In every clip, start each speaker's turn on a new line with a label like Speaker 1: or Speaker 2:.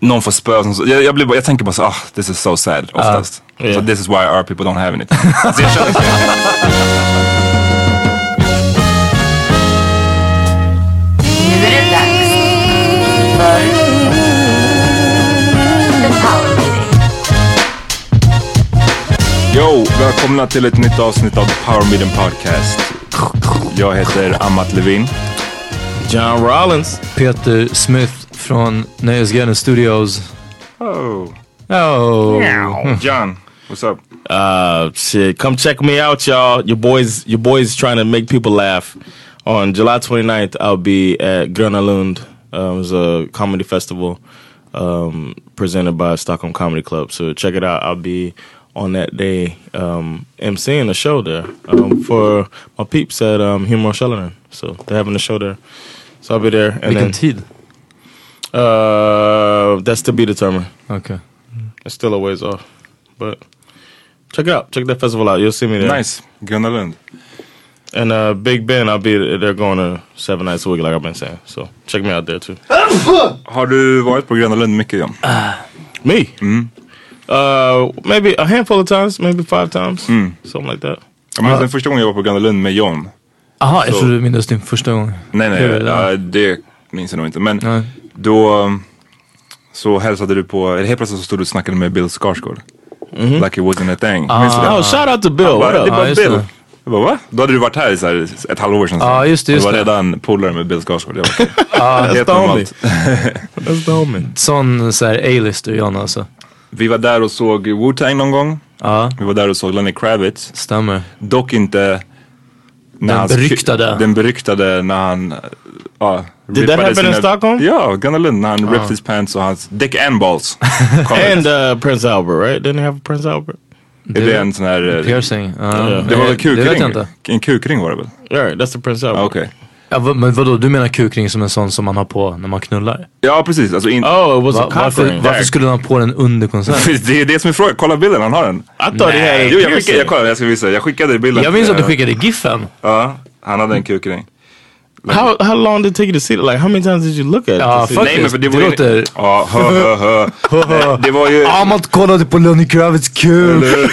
Speaker 1: Någon får spö. som så- Jag, jag, blir bara, jag tänker bara så ah, this is so sad oftast.
Speaker 2: yeah.
Speaker 1: So this is why our people don't have anything. alltså, jag känner,
Speaker 3: Nu är det dags för The Power Meeting.
Speaker 1: yo, välkomna till ett nytt avsnitt av The Power Meeting Podcast. Jag heter Amat Levin.
Speaker 2: John Rollins.
Speaker 4: Peter Smith från Nöjesgarden Studios.
Speaker 1: Oh.
Speaker 4: Oh.
Speaker 1: John, what's up?
Speaker 2: Uh, shit, come check me out, y'all. Your boys, your boys trying to make people laugh. On July 29th, I'll be at Gröna Lund. Um, it's a comedy festival um, presented by Stockholm Comedy Club. So check it out. I'll be on that day um, emceeing a show there um, for my peeps at um, Humor Shellerton. So they're having a show there. So I'll be there. And
Speaker 4: Vilken tid?
Speaker 2: then uh, that's to be determined.
Speaker 4: Okej.
Speaker 2: It's still a ways off, but check it out. Check that festival out. You'll see me there.
Speaker 1: Nice. Gunnar Lund.
Speaker 2: And uh, Big Ben, I'll be. They're going to seven nights a week, like I've been saying. So check me out there too.
Speaker 1: Har du varit på Gröna Lund mycket John?
Speaker 2: me, Mm-hmm. uh, maybe a handful of times, maybe five times, something like that.
Speaker 1: Jag minns den första gången jag var på Gröna Lund med John.
Speaker 4: Aha, jag trodde du mindes din första gång.
Speaker 1: Nej, nej,
Speaker 4: Hur,
Speaker 1: ja,
Speaker 4: ja.
Speaker 1: det minns jag nog inte. Men
Speaker 4: Nej.
Speaker 1: då um, så hälsade du på, eller helt plötsligt så stod du och snackade med Bill Skarsgård.
Speaker 4: Mhm.
Speaker 1: Like it wasn't a thing.
Speaker 4: Ah.
Speaker 1: Minns du det?
Speaker 2: oh, shout out to Bill. What
Speaker 1: Bara, det
Speaker 2: up?
Speaker 1: var
Speaker 4: Ja, just
Speaker 1: Bill.
Speaker 4: det.
Speaker 1: Jag bara, va? Då hade du varit här i så här ett halvår sedan.
Speaker 4: Ja, just det, just
Speaker 1: du var
Speaker 4: det.
Speaker 1: redan polare med Bill Skarsgård. Det var okej. Helt
Speaker 2: Stormy.
Speaker 1: normalt.
Speaker 2: That's the homie.
Speaker 4: Sån så här A-lister John alltså. Ah,
Speaker 1: Vi var där och såg Wu-Tang någon gång.
Speaker 4: Ja,
Speaker 1: Vi var där och såg Lenny Kravitz.
Speaker 4: stämmer.
Speaker 1: Dock inte När
Speaker 4: Den
Speaker 1: hans ki-
Speaker 4: beryktade.
Speaker 1: Den beryktade när han... Uh,
Speaker 2: Did that happen in Stockholm?
Speaker 1: Ja, Gunnar Lund när han ripped his pants och hans dick and balls. kom ut.
Speaker 2: And uh, Prince Albert, right? Didn't they have Prince Albert?
Speaker 1: Är det en sån här... eh,
Speaker 4: Piercing. Ja.
Speaker 1: Det var
Speaker 4: Nej,
Speaker 1: väl
Speaker 4: Det vet jag
Speaker 1: kukring?
Speaker 4: inte.
Speaker 1: En kukring var det väl?
Speaker 2: All right, that's the Prince
Speaker 1: Ja,
Speaker 2: Albert.
Speaker 1: Okej.
Speaker 4: Ja, vad- men vadå, du menar kukring som en sån som man har på när man knullar?
Speaker 1: Ja, precis. Alltså in...
Speaker 2: Oh, it was
Speaker 4: Va,
Speaker 2: a cock
Speaker 4: varför,
Speaker 2: ring.
Speaker 4: varför skulle man ha på den under konserten?
Speaker 1: Precis, Det är det som är frågan. Kolla bilden, han har den.
Speaker 2: I thought he had a
Speaker 1: Jo, jag
Speaker 2: piercing.
Speaker 1: skickade, jag, kollade, jag, ska visa. jag skickade bilden.
Speaker 4: Jag minns att du
Speaker 1: Eh,
Speaker 4: skickade giffen.
Speaker 1: Ja, han hade en kukring.
Speaker 2: How how long did it take you to see it? Like how many times did you look at
Speaker 4: Ja,
Speaker 2: it? to see
Speaker 4: Uh, fuck
Speaker 2: it?
Speaker 1: Nej men för det
Speaker 4: Det
Speaker 1: var ju...
Speaker 4: låter-
Speaker 1: Ja, hö, hö, hö. Nej, Det var ju...
Speaker 4: Amat kollade på Lenny Kravitz kul.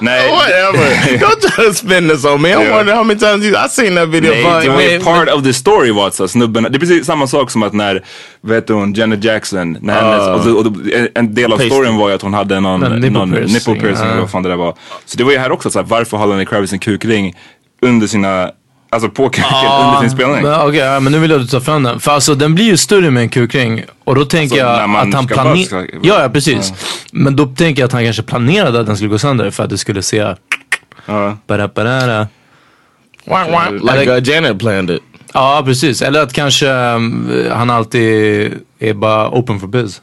Speaker 1: Nej.
Speaker 2: Whatever. Don't try to spin this on me. I'm
Speaker 1: Yeah.
Speaker 2: wondering how many times you I seen that video.
Speaker 1: Nej,
Speaker 2: but-
Speaker 1: det var ju
Speaker 2: Wait,
Speaker 1: part of the story var alltså snubben. Det är precis samma sak som att när, vet du hon, Janet Jackson, när hennes, och, och, och, en- en del av
Speaker 2: Pasty.
Speaker 1: storyn var ju att hon hade någon,
Speaker 4: Men Ah. nipple
Speaker 1: någon
Speaker 4: piercing,
Speaker 1: nipple piercing eller
Speaker 4: ja.
Speaker 1: vad fan det där var. Så det var ju här också, så här, varför har Lenny Kravitz en kukring under sina, alltså på kuken under sin spelning?
Speaker 4: Men, okej, Ah. ja, men nu vill jag att du tar fram den. För alltså den blir ju större med en kukring. Och då tänker
Speaker 1: Alltså, när
Speaker 4: jag
Speaker 1: man
Speaker 4: att han
Speaker 1: ska bara ska-
Speaker 4: planerade... Ja, ja, precis. Men då tänker jag att han kanske planerade att den skulle gå sönder för att du skulle se...
Speaker 1: Ja.
Speaker 4: Ba-da-ba-da-da.
Speaker 2: wah, wah. Like uh, Janet planned it.
Speaker 4: Ja, precis. Eller att kanske um, han alltid är bara open for biz.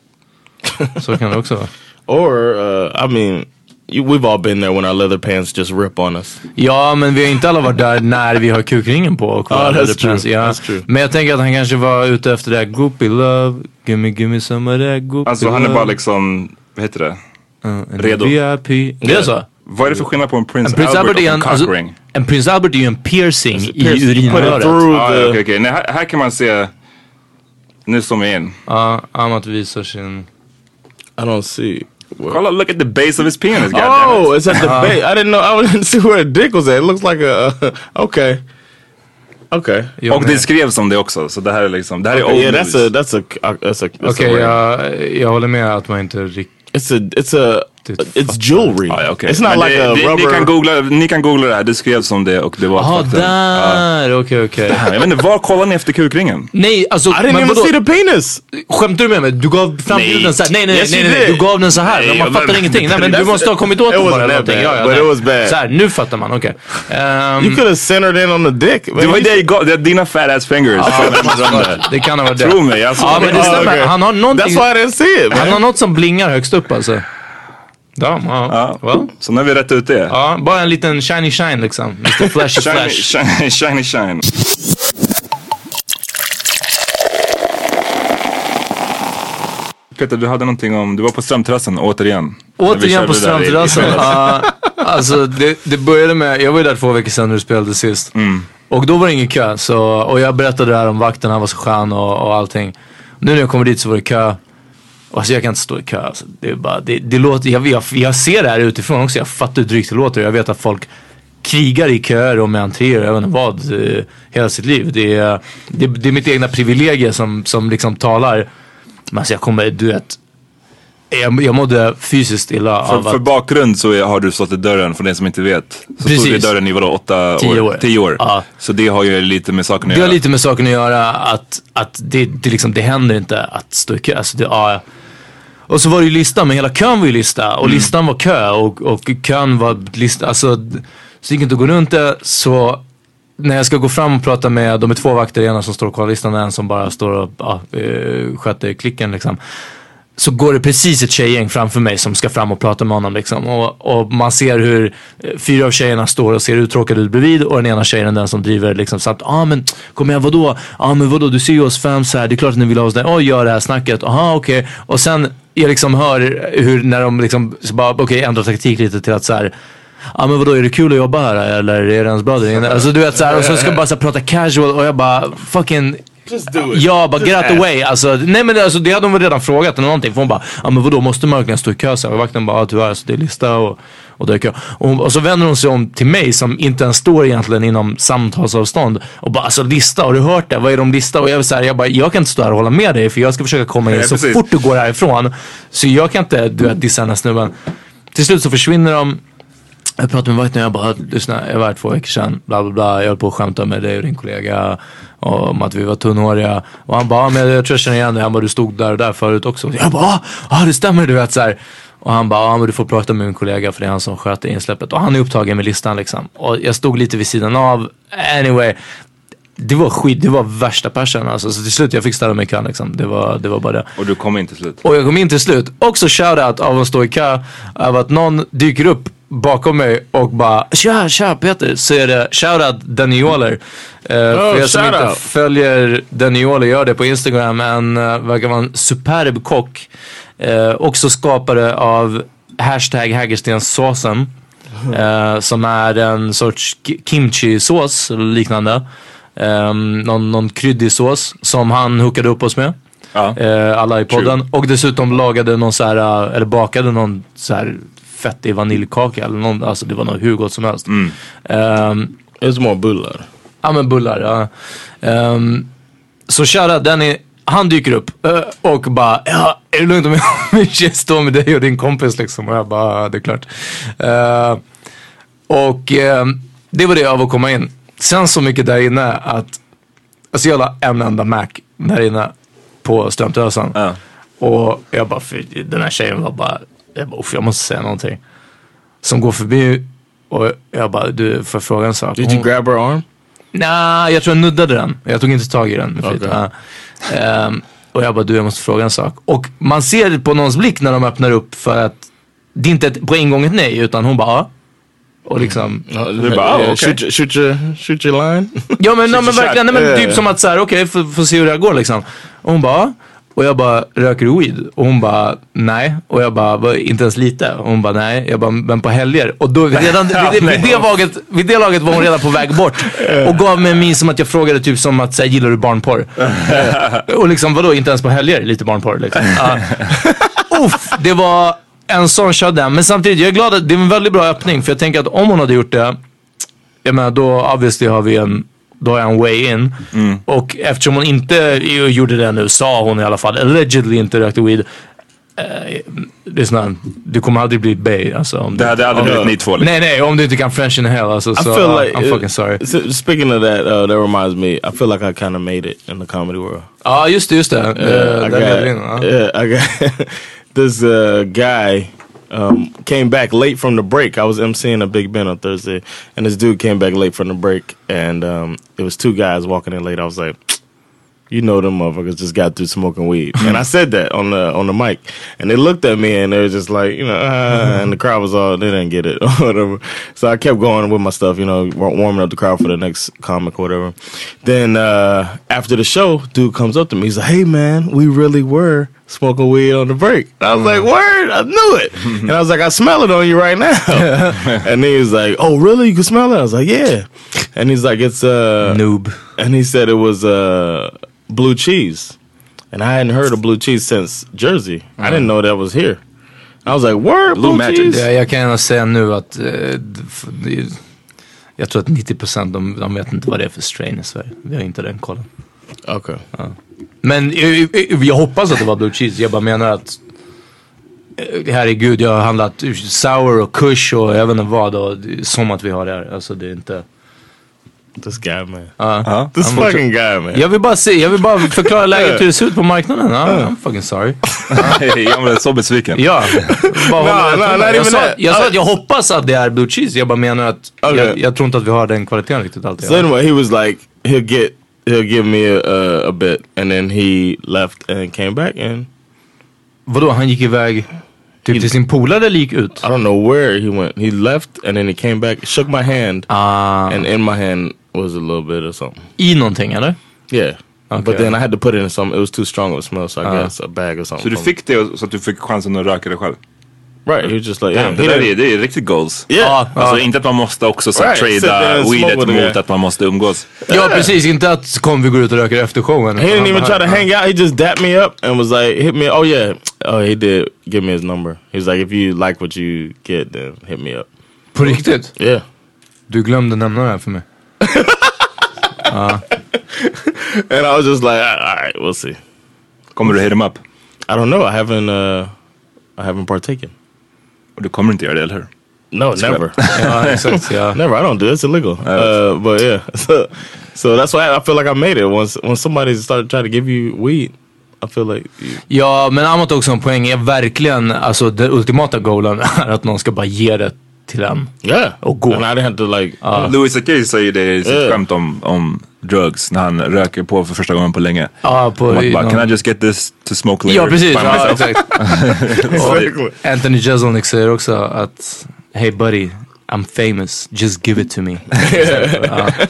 Speaker 4: Så kan det också vara.
Speaker 2: Or uh, I mean, you, we've all been there when our leather pants just rip on us.
Speaker 4: Ja, men vi har inte alla varit där när vi har kukringen på. Och
Speaker 2: Ja,
Speaker 4: ah,
Speaker 2: that's true, that's true.
Speaker 4: Men jag tänker att han kanske var ute efter det här goopy love, gimme gimme some of that goopy
Speaker 1: Alltså
Speaker 4: love.
Speaker 1: han är bara liksom, vad heter det?
Speaker 4: En
Speaker 1: redo.
Speaker 4: VIP. Det är så?
Speaker 1: Vad är det för skillnad på en Prince,
Speaker 4: Prins
Speaker 1: Albert
Speaker 4: Albert är en,
Speaker 1: och Alltså, en
Speaker 4: alltså,
Speaker 1: cockring?
Speaker 4: en prins Albert är ju en piercing
Speaker 2: piercing.
Speaker 4: i
Speaker 2: Put it
Speaker 4: urinröret.
Speaker 2: through.
Speaker 1: Ah, ja,
Speaker 2: the-
Speaker 1: okej, okej. Nej, här, här kan man se, nu zoomar jag in.
Speaker 4: Ja, Amat visar sin...
Speaker 2: I don't see. where-
Speaker 1: Kolla, look at the base of his penis, goddammit.
Speaker 2: Oh, it's at the
Speaker 4: Uh-huh.
Speaker 2: base. I didn't know. I didn't see where the dick was at. It looks like a. Okay. Okay.
Speaker 4: Jag
Speaker 1: Och
Speaker 4: med.
Speaker 1: det skrevs om det också, så det här är liksom, det här är old
Speaker 2: Yeah, that's
Speaker 1: news.
Speaker 2: a. That's a. uh, That's a. That's
Speaker 4: Okej,
Speaker 2: a rare.
Speaker 4: jag, jag håller med att man inte riktigt...
Speaker 2: It's a. It's a.
Speaker 4: Dude, Oh,
Speaker 2: It's jewelry.
Speaker 1: Ah, ja, okej.
Speaker 2: It's not
Speaker 1: Men
Speaker 2: like
Speaker 1: det,
Speaker 2: a
Speaker 1: det,
Speaker 2: rubber.
Speaker 1: Ni kan, googla, ni kan googla det här, det skrevs om det och det var
Speaker 4: Jaha,
Speaker 1: faktum. Ja.
Speaker 4: där! Okej, okej.
Speaker 1: Jag vet inte, var kollar ni efter kukringen?
Speaker 4: Nej, alltså...
Speaker 2: I didn't
Speaker 4: men
Speaker 2: even
Speaker 4: vadå?
Speaker 2: see the penis.
Speaker 4: Skämtar du med mig? Du gav fram
Speaker 1: Nej.
Speaker 4: bilden såhär. Nej, nej,
Speaker 2: Yes,
Speaker 4: nej,
Speaker 2: you
Speaker 4: nej, nej.
Speaker 2: did.
Speaker 4: Du gav den så här.
Speaker 1: Nej,
Speaker 4: man
Speaker 1: jag-
Speaker 4: fattar ingenting. Nej, men du
Speaker 2: That's-
Speaker 4: måste ha kommit åt
Speaker 2: it
Speaker 4: den
Speaker 2: was
Speaker 4: bara. eller
Speaker 2: that
Speaker 4: någonting.
Speaker 2: bad, but
Speaker 4: nej.
Speaker 2: it was bad.
Speaker 4: Så här, nu fattar man. Okej. Ehm,
Speaker 2: You could have centered in on the dick.
Speaker 1: Det
Speaker 2: man.
Speaker 1: var ju det jag gav, det är dina fat ass fingers. som jag drömde.
Speaker 4: det kan ha varit det.
Speaker 1: Tro mig, jag
Speaker 4: Ja,
Speaker 1: såg
Speaker 4: men det
Speaker 1: det.
Speaker 4: stämmer.
Speaker 2: okay.
Speaker 4: Han har
Speaker 2: That's
Speaker 4: någonting...
Speaker 2: why I didn't see it.
Speaker 4: Han
Speaker 2: Man.
Speaker 4: har något som blingar högst upp alltså. Damn, ja.
Speaker 1: Ja.
Speaker 4: Well.
Speaker 1: Så nu har vi rätt ut det.
Speaker 4: Ja, bara en liten shiny shine liksom. Mr Flashy
Speaker 1: Shiny,
Speaker 4: Flash.
Speaker 1: shiny, shiny, shine. Peter, du hade någonting om, du var på strömterrassen återigen. Vi körde
Speaker 4: Återigen på
Speaker 1: det där i-
Speaker 4: strandterrassen. Ja, alltså det, det började med, jag var ju där två veckor sedan när du spelade sist.
Speaker 1: Mm.
Speaker 4: Och då var det ingen kö. Så, och jag berättade det här om vakten, han var så skön och, och allting. Nu när jag kommer dit så var det kö. Alltså jag kan inte stå i kö. Alltså, det är bara, det, det låter, jag, jag, jag ser det här utifrån också. Jag fattar hur drygt det låter. Jag vet att folk krigar i köer och med entréer och jag vet inte vad eh, hela sitt liv. Det är, det, det är mitt egna privilegie som, som liksom talar. Men alltså jag kommer, du vet. Jag, jag mådde fysiskt illa av
Speaker 1: För,
Speaker 4: att...
Speaker 1: för bakgrund så är- har du stått i dörren, för den som inte vet. Så stod du i
Speaker 4: Precis.
Speaker 1: dörren i vadå, åtta
Speaker 4: Tio
Speaker 1: år?
Speaker 4: år.
Speaker 1: Tio år.
Speaker 4: Ja.
Speaker 1: Så det har ju lite med saken att
Speaker 4: Det har
Speaker 1: göra.
Speaker 4: lite med saken att göra att, att det, det, liksom, det händer inte att stå i kö. Alltså det, ja. Och så var det ju lista, men hela kön var ju lista. Och listan var kö och, och kön var lista. Alltså, d- så det gick inte att gå runt det. Så när jag ska gå fram och prata med, de är två vakter, ena som står och kollar listan och en som bara står och ja, eh, sköter klicken liksom så går det precis ett tjejgäng framför mig som ska fram och prata med honom. Liksom. Och, och man ser hur eh, fyra av tjejerna står och ser uttråkade ut bredvid och den ena tjejen är den som driver. Liksom, så att, ah, men kom igen vadå? ah, men vadå? Du ser ju oss fem så här. Det är klart att ni vill ha oss där. Åh, gör det här snacket. Aha, okej. Och sen jag liksom hör hur när de liksom, så bara, okej, ändrar taktik lite till att så här. Ja ah, men vadå, är det kul att jobba här eller är det ens bra där inne? Alltså du vet såhär, och så ska bara så här, prata casual och jag bara fucking
Speaker 2: Just do it.
Speaker 4: Ja, bara get out the way. Alltså, nej men alltså, det hade hon väl redan frågat eller någonting. För hon bara, ja men vadå måste man verkligen stå i kö? Så här, och vakten bara, ja tyvärr alltså, det är lista och, och det är kö. Och, hon- och så vänder hon sig om till mig som inte ens står egentligen inom samtalsavstånd. Och bara, alltså lista, har du hört det? Vad är de lista? Och jag, var så här, jag bara, jag kan inte stå här och hålla med dig för jag ska försöka komma in
Speaker 1: Nej,
Speaker 4: så
Speaker 1: precis.
Speaker 4: fort du går härifrån. Så jag kan inte, du vet, dissa den här snubben. Till slut så försvinner de. Jag pratade med vakten och jag bara, lyssna, jag var här två veckor sedan, bla bla bla, jag höll på att skämta med dig och din kollega om att vi var tunnhåriga. Och han bara, "Ja, men jag tror jag känner igen dig, han bara, du stod där och där förut också. Jag bara, "Ah, ja det ah, stämmer du vet så här. Och han bara, ja men du får prata med min kollega för det är han som sköter insläppet. Och han är upptagen med listan liksom. Och jag stod lite vid sidan av. Anyway. Det var skit, det var värsta persen alltså. Så till slut jag fick ställa mig i kön liksom. Det var, det var bara det.
Speaker 1: Och du kom in till slut.
Speaker 4: Och jag kom in till slut. Också shoutout av att stå i kö. Av att någon dyker upp bakom mig och bara tja, tja Peter. Så är det shoutout Danioler. Uh, för er som inte
Speaker 2: shoutout.
Speaker 4: följer Danioler gör det på Instagram. En eh, verkar vara en superb kock. Eh, också skapare av hashtag Hägerstensåsen. Eh, som är en sorts ki- kimchi-sås eller liknande. Eh, någon, någon kryddig sås som han hookade upp oss med.
Speaker 1: Ja.
Speaker 4: Eh, alla i podden. Och dessutom lagade någon så här, eh, eller bakade någon så här fettig vaniljkaka. Eller någon, alltså det var något hur gott som helst. Ehm,
Speaker 2: It's more bullar.
Speaker 4: Ja men bullar. Ja. Ehm, så kära Danny, han dyker upp eh, och bara, ja, är det lugnt om jag- om jag står med dig och din kompis liksom? Och jag bara, "Ja, det är klart. Ehm, och ehm, det var det av att komma in. Sen så mycket där inne att, alltså jag la en enda Mac där inne på Strömtösen.
Speaker 1: Ja.
Speaker 4: Och jag bara, för den här tjejen var bara, jag bara, "Uff, jag måste säga någonting. Som går förbi och jag bara, du får jag fråga en sak.
Speaker 2: Did you
Speaker 4: Hon-
Speaker 2: grab her arm?
Speaker 4: Nej, jag tror jag nuddade den. Jag tog inte tag i den.
Speaker 2: Okej.
Speaker 4: Ja. Ehm, och jag bara, du jag måste fråga en sak. Och man ser på någons blick när de öppnar upp för att det är inte ett, på en gång ett nej, utan hon bara, ja. Och liksom,
Speaker 1: Du bara, ah, okej.
Speaker 2: Eh, shoot, your- shoot, your, shoot your line.
Speaker 4: ja men, nej, men
Speaker 2: Shit,
Speaker 4: verkligen, nej, men
Speaker 2: ja, ja,
Speaker 4: typ
Speaker 2: ja.
Speaker 4: som att så här, okej, får får se hur det här går liksom. Och hon bara, ja. och jag bara, röker du weed? Och hon bara, nej. Och jag bara, "Va, inte ens lite. Och hon bara, nej. Jag bara, men på helger. Och då, redan, vid, det, vid, det laget, vid det laget var hon redan på väg bort. Och gav mig en min som att jag frågade typ som att, så här, gillar du barnporr? Eh, och liksom, vadå, inte ens på helger lite barnporr liksom. Ja. Uff, det var en sån shutdown. Men samtidigt, jag är glad att det var en väldigt bra öppning. För jag tänker att om hon hade gjort det, jag menar då obviously har vi en då har jag en way in.
Speaker 1: Mm.
Speaker 4: Och eftersom hon inte ju- gjorde det nu, sa hon i alla fall, allegedly inte rökte weed. Eh, lyssna, du kommer aldrig bli bay alltså. Om
Speaker 1: Det hade aldrig
Speaker 2: Ja.
Speaker 1: blivit ni två. Liksom.
Speaker 4: Nej, nej, om du inte kan french in hell alltså.
Speaker 2: I
Speaker 4: så,
Speaker 2: feel
Speaker 4: uh,
Speaker 2: like
Speaker 4: I'm
Speaker 2: uh,
Speaker 4: fucking sorry.
Speaker 2: s- Speaking of that, uh, that reminds me. I feel like I kind of made it in the comedy world.
Speaker 4: Ja, just det, just det. Eh,
Speaker 2: Uh, I
Speaker 4: där leder vi in,
Speaker 2: got,
Speaker 4: ja.
Speaker 2: yeah, I got this uh, guy um, came back late from the break. I was emceeing a Big Ben on Thursday, and this dude came back late from the break, and um, it was two guys walking in late. I was like, "You know them motherfuckers just got through smoking weed," and I said that on the on the mic, and they looked at me and they were just like, you know, ah, and the crowd was all they didn't get it or whatever. So I kept going with my stuff, you know, wa- warming up the crowd for the next comic or whatever. Then uh, after the show, dude comes up to me. He's like, "Hey man, we really were." Smoking weed on the break. And I was like, "Word, I knew it." and I was like, "I smell it on you right now." and he was like, "Oh, really? You can smell it?" I was like, "Yeah." And he's like, "It's uh,
Speaker 4: Noob.
Speaker 2: and he said it was uh, blue cheese. And I hadn't heard of blue cheese since Jersey. I didn't know that was here. I was like, word, blue,
Speaker 1: Blue magic.
Speaker 2: cheese?
Speaker 4: Ja, jag kan gärna säga nu att eh, d- f- det- jag tror att 90% de, de vet inte vad det är för strain i Sverige. Vi har inte den kollen.
Speaker 2: Okay.
Speaker 4: Men eh, eh, jag hoppas att det var blue cheese. Jag bara menar att eh, herregud, jag har handlat sour och kush och jag vet inte vad. Och, det är som att vi har det här. Alltså det är inte...
Speaker 2: This guy, man.
Speaker 1: Ja.
Speaker 2: This fucking guy, man.
Speaker 4: Jag vill bara, se, jag vill bara förklara läget hur det ser ut på marknaden. Ah, I'm fucking sorry.
Speaker 1: jag blev så besviken.
Speaker 4: Ja. Bara
Speaker 2: Nah, nah,
Speaker 4: hålla tummarna.
Speaker 2: not even
Speaker 4: jag, sa,
Speaker 2: that.
Speaker 4: jag sa att jag hoppas att det är blue cheese. Jag bara menar att
Speaker 2: Okay.
Speaker 4: jag, jag tror inte att vi har den kvaliteten riktigt alltid.
Speaker 2: So anyway, he was like, he'll get, he'll give me a, a, a bit, and then he left and came back, and
Speaker 4: Vadå, han gick iväg typ till sin polare eller gick ut?
Speaker 2: I don't know where he went. He left, and then he came back, shook my hand,
Speaker 4: Ah,
Speaker 2: and in my hand was a little bit of something.
Speaker 4: I någonting eller?
Speaker 2: Yeah.
Speaker 4: Okay.
Speaker 2: But then I had to put it in some. It was too strong of a smell, so I guess a bag or something.
Speaker 1: Så du
Speaker 2: from-
Speaker 1: fick det och- så att du fick chansen att röka det själv?
Speaker 2: right? He was just like,
Speaker 1: Damn,
Speaker 2: yeah,
Speaker 1: det,
Speaker 2: he
Speaker 1: där
Speaker 2: didn't-
Speaker 1: är, det är riktigt goals.
Speaker 2: Yeah.
Speaker 1: Alltså inte att man måste också så,
Speaker 2: Right, sit there
Speaker 1: trada
Speaker 2: and smoke
Speaker 1: weedet
Speaker 2: with the
Speaker 1: mot
Speaker 2: guy.
Speaker 1: att man måste umgås.
Speaker 4: Ja precis, inte att kom vi går ut och röker efter showen.
Speaker 2: He didn't even try to hang out. He just dapped me up and was like, hit me. Oh, yeah. Oh, he did give me his number. He was like, if you like what you get, then hit me up.
Speaker 4: På riktigt?
Speaker 2: Yeah.
Speaker 4: Du glömde nämna det här för mig.
Speaker 2: And I was just like, all all right, we'll see.
Speaker 1: Kommer du hit him up?
Speaker 2: I don't know. I haven't, uh, I haven't partaken.
Speaker 1: Och du kommer inte göra det, eller hur?
Speaker 2: No, never.
Speaker 4: Ja, exakt. Ja.
Speaker 2: never. I don't do it. It's illegal. Uh, but yeah. So, so that's why I feel like I made it. Once, when somebody started trying to give you weed, I feel like you,
Speaker 4: Ja, men Amat har också en poäng. Är verkligen, alltså den ultimata goalen är att någon ska bara ge det till en.
Speaker 2: yeah.
Speaker 4: Och gå.
Speaker 2: And I didn't have to like.
Speaker 1: Louis CK säger det i sitt
Speaker 2: Yeah.
Speaker 1: skämt om, om drugs när han röker på för första gången på länge.
Speaker 4: Ja, på-
Speaker 1: Om att bara,
Speaker 4: någon-
Speaker 1: Can I just get this to smoke later?
Speaker 4: Ja, precis.
Speaker 1: by
Speaker 4: Ja,
Speaker 1: myself?"
Speaker 4: exakt. Och Anthony Jeselnik säger också att Hey buddy, I'm famous, just give it to me.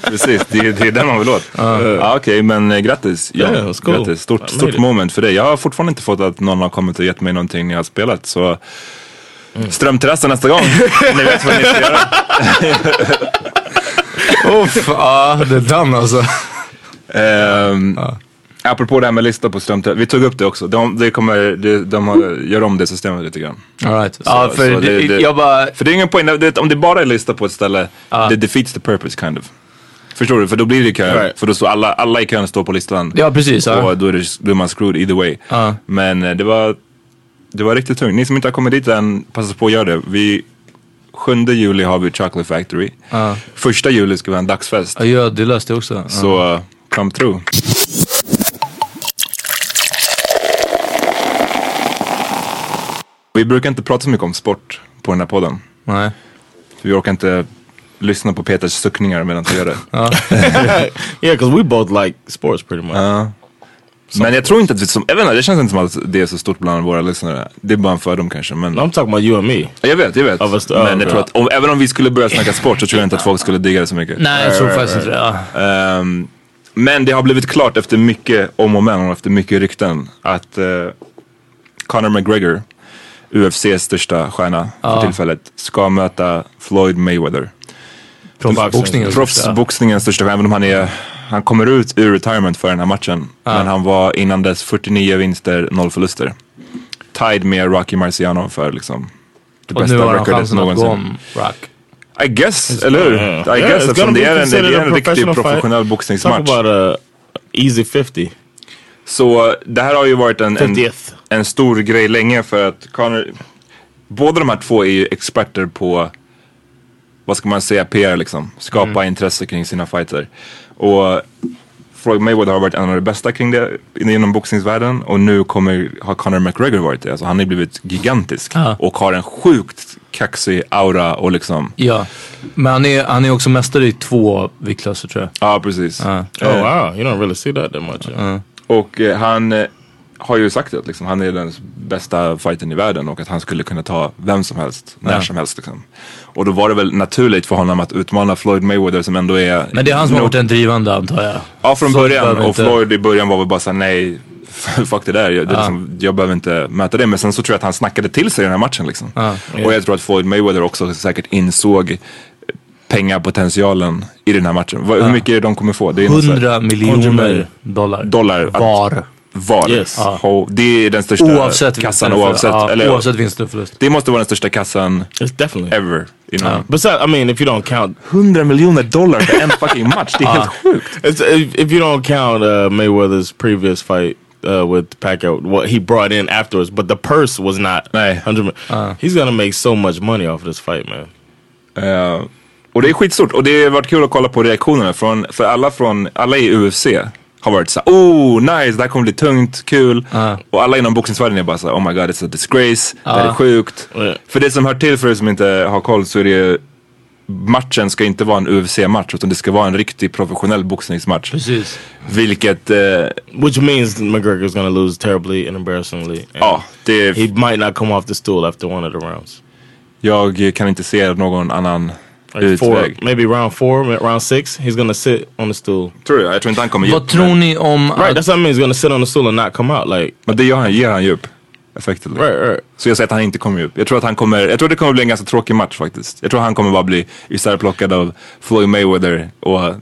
Speaker 1: Precis, det, är- det är den man vill åt. Ja, Okej, men eh, grattis. Ja,
Speaker 2: Yeah, it's cool.
Speaker 1: grattis.
Speaker 2: I
Speaker 1: Stort,
Speaker 2: made
Speaker 1: stort
Speaker 2: it.
Speaker 1: moment för dig. Jag har fortfarande inte fått att någon har kommit och gett mig någonting när jag har spelat. Så strömterrassen nästa gång. ni vet vad ni ska göra.
Speaker 4: Uff, ja det är den alltså.
Speaker 1: Ehm, Apropå det här med lista på strömterrassen. Vi tog upp det också. De, det kommer, de, de har, gör om det systemet lite grann.
Speaker 4: All right. Ja,
Speaker 1: Så-
Speaker 4: för
Speaker 1: så
Speaker 4: det,
Speaker 1: det- det-
Speaker 4: jag bara...
Speaker 1: För det är ingen poäng, det, om det bara är lista på ett ställe, det defeats the purpose kind of. Förstår du? För då blir det kö,
Speaker 2: Right.
Speaker 1: för då står alla, alla i kön står på listan.
Speaker 4: Ja, precis, ja.
Speaker 1: Och då är, det, då är man screwed either way.
Speaker 4: Ja.
Speaker 1: Men eh, det var, det var riktigt tungt. Ni som inte har kommit dit än, passa på att göra det. Vi, 7 juli har vi Chocolate Factory. Första juli ska vi ha en dagsfest.
Speaker 4: Ja, Ja, du löste det också. Ja.
Speaker 1: Så eh, kom tro. Vi brukar inte prata så mycket om sport på den här podden.
Speaker 4: Nej.
Speaker 1: Vi orkar inte lyssna på Peters suckningar medan vi gör det.
Speaker 2: Yeah, because we both like sports pretty much.
Speaker 1: Men jag tror inte att vi, som, jag vet inte, det känns inte som att det är så stort bland våra lyssnare. Det är bara en fördom kanske. Men,
Speaker 2: I'm talking about you and me.
Speaker 1: Jag vet, jag vet.
Speaker 2: Ja, fast- ja,
Speaker 1: men jag
Speaker 2: bra.
Speaker 1: tror att om, även om vi skulle börja snacka sport så tror jag inte att folk skulle digga det så mycket.
Speaker 4: Nej, jag tror faktiskt inte det. Ja.
Speaker 1: Ehm, men det har blivit klart efter mycket om och men och efter mycket rykten att eh, Conor McGregor, UFCs största stjärna för tillfället, ska möta Floyd Mayweather.
Speaker 4: Proffsboxningen.
Speaker 1: Proffsboxningens största stjärna, även om han, är, han kommer ut ur retirement för den här matchen. Men han var innan dess 49 vinster, 0 förluster. Tied med Rocky Marciano för liksom det
Speaker 4: Och nu
Speaker 1: bästa
Speaker 4: har han
Speaker 1: recordet
Speaker 4: chansen att gå
Speaker 1: någonsin.
Speaker 4: om Rock.
Speaker 1: I guess, eller hur?
Speaker 2: Yeah.
Speaker 1: I
Speaker 2: Yeah,
Speaker 1: guess
Speaker 2: it's
Speaker 1: eftersom
Speaker 2: gonna
Speaker 1: det
Speaker 2: be
Speaker 1: är en, det
Speaker 2: considered
Speaker 1: är
Speaker 2: a
Speaker 1: en riktig
Speaker 2: professional fight.
Speaker 1: professionell
Speaker 2: Talk
Speaker 1: boxningsmatch.
Speaker 2: about a easy 50.
Speaker 1: Så det här har ju varit en, en,
Speaker 2: 50th.
Speaker 1: en stor grej länge för att Conor, båda de här två är ju experter på, vad ska man säga, PR liksom. Skapa intresse kring sina fighter. Och Floyd Mayweather har varit en av de bästa kring det inom boxningsvärlden och nu kommer, har Conor McGregor varit det. Alltså han har blivit gigantisk
Speaker 4: Ja.
Speaker 1: och har en sjukt kaxig aura och liksom,
Speaker 4: Ja, men han är, han är också mästare i två viktklasser tror jag.
Speaker 1: ja precis. Eh,
Speaker 2: Oh wow, you don't really see that that much. yeah.
Speaker 1: Och eh, han eh, har ju sagt att liksom, han är den bästa fighten i världen och att han skulle kunna ta vem som helst, när
Speaker 4: Ja.
Speaker 1: som helst. Liksom. Och då var det väl naturligt för honom att utmana Floyd Mayweather som ändå är...
Speaker 4: Men det är han som har
Speaker 1: No-
Speaker 4: varit den drivande antar jag.
Speaker 1: Ja, från
Speaker 4: Floyd
Speaker 1: början.
Speaker 4: behöver
Speaker 1: Och
Speaker 4: inte-
Speaker 1: Floyd i början var väl bara såhär, nej, fuck det där. Jag, det är liksom, jag behöver inte möta det. Men sen så tror jag att han snackade till sig den här matchen liksom. Och jag tror att Floyd Mayweather också säkert insåg pengapotentialen i den här matchen. Vad- Hur mycket de kommer få? Det är något så här-
Speaker 4: 100 miljoner dollar.
Speaker 1: dollar att-
Speaker 4: Var.
Speaker 1: VAR.
Speaker 2: Yes. Ja.
Speaker 1: Ho- Det är den största
Speaker 4: Oavsett
Speaker 1: kassan.
Speaker 4: vinst eller
Speaker 1: Oavsett,
Speaker 4: förlust. Ja,
Speaker 1: eller,
Speaker 4: oavsett vinst eller förlust.
Speaker 1: Det måste vara den största kassan
Speaker 2: It's definitely.
Speaker 1: ever. Inom
Speaker 2: Besides, I mean, if you don't count,
Speaker 1: 100 miljoner dollar för en fucking match. Det är helt sjukt.
Speaker 2: it's, if, if you don't count uh, Mayweather's previous fight uh, with Pacquiao, what he brought in afterwards, but the purse was not
Speaker 1: Nej.
Speaker 2: 100 mi- He's gonna make so much money off this fight, man.
Speaker 1: Eh, och det är skitstort. Och det har varit kul att kolla på reaktionerna. Från, för alla, från, alla i UFC har varit såhär, oh nice, det här kommer bli tungt, kul. Och alla inom boxningsvärlden är bara såhär, oh my god it's a disgrace, det här är sjukt.
Speaker 2: Ja.
Speaker 1: För det som hör till för er som inte har koll så är det ju, matchen ska inte vara en UFC-match utan det ska vara en riktig professionell boxningsmatch.
Speaker 4: Precis.
Speaker 1: Vilket, eh,
Speaker 2: Which means McGregor's gonna lose terribly and embarrassingly. And
Speaker 1: ja, det är,
Speaker 2: He might not come off the stool after one of the rounds.
Speaker 1: jag kan inte se någon annan
Speaker 2: Like four,
Speaker 1: utväg.
Speaker 2: maybe round four, ma- round six, he's gonna sit on the stool.
Speaker 1: Tror jag, jag tror inte han kommer ge
Speaker 4: Vad
Speaker 1: upp.
Speaker 4: tror ni om
Speaker 2: Right, alltså-
Speaker 4: att...
Speaker 2: that's what I mean. He's gonna sit on the stool and not come out. Like,
Speaker 1: Men det gör han, ger han ju upp. Effectively.
Speaker 2: right, right.
Speaker 1: Så jag säger att han inte kommer ge upp. Jag tror att han kommer, jag tror det kommer bli en ganska tråkig match faktiskt. Jag tror han kommer bara bli isärplockad av Floyd Mayweather
Speaker 2: You
Speaker 1: och han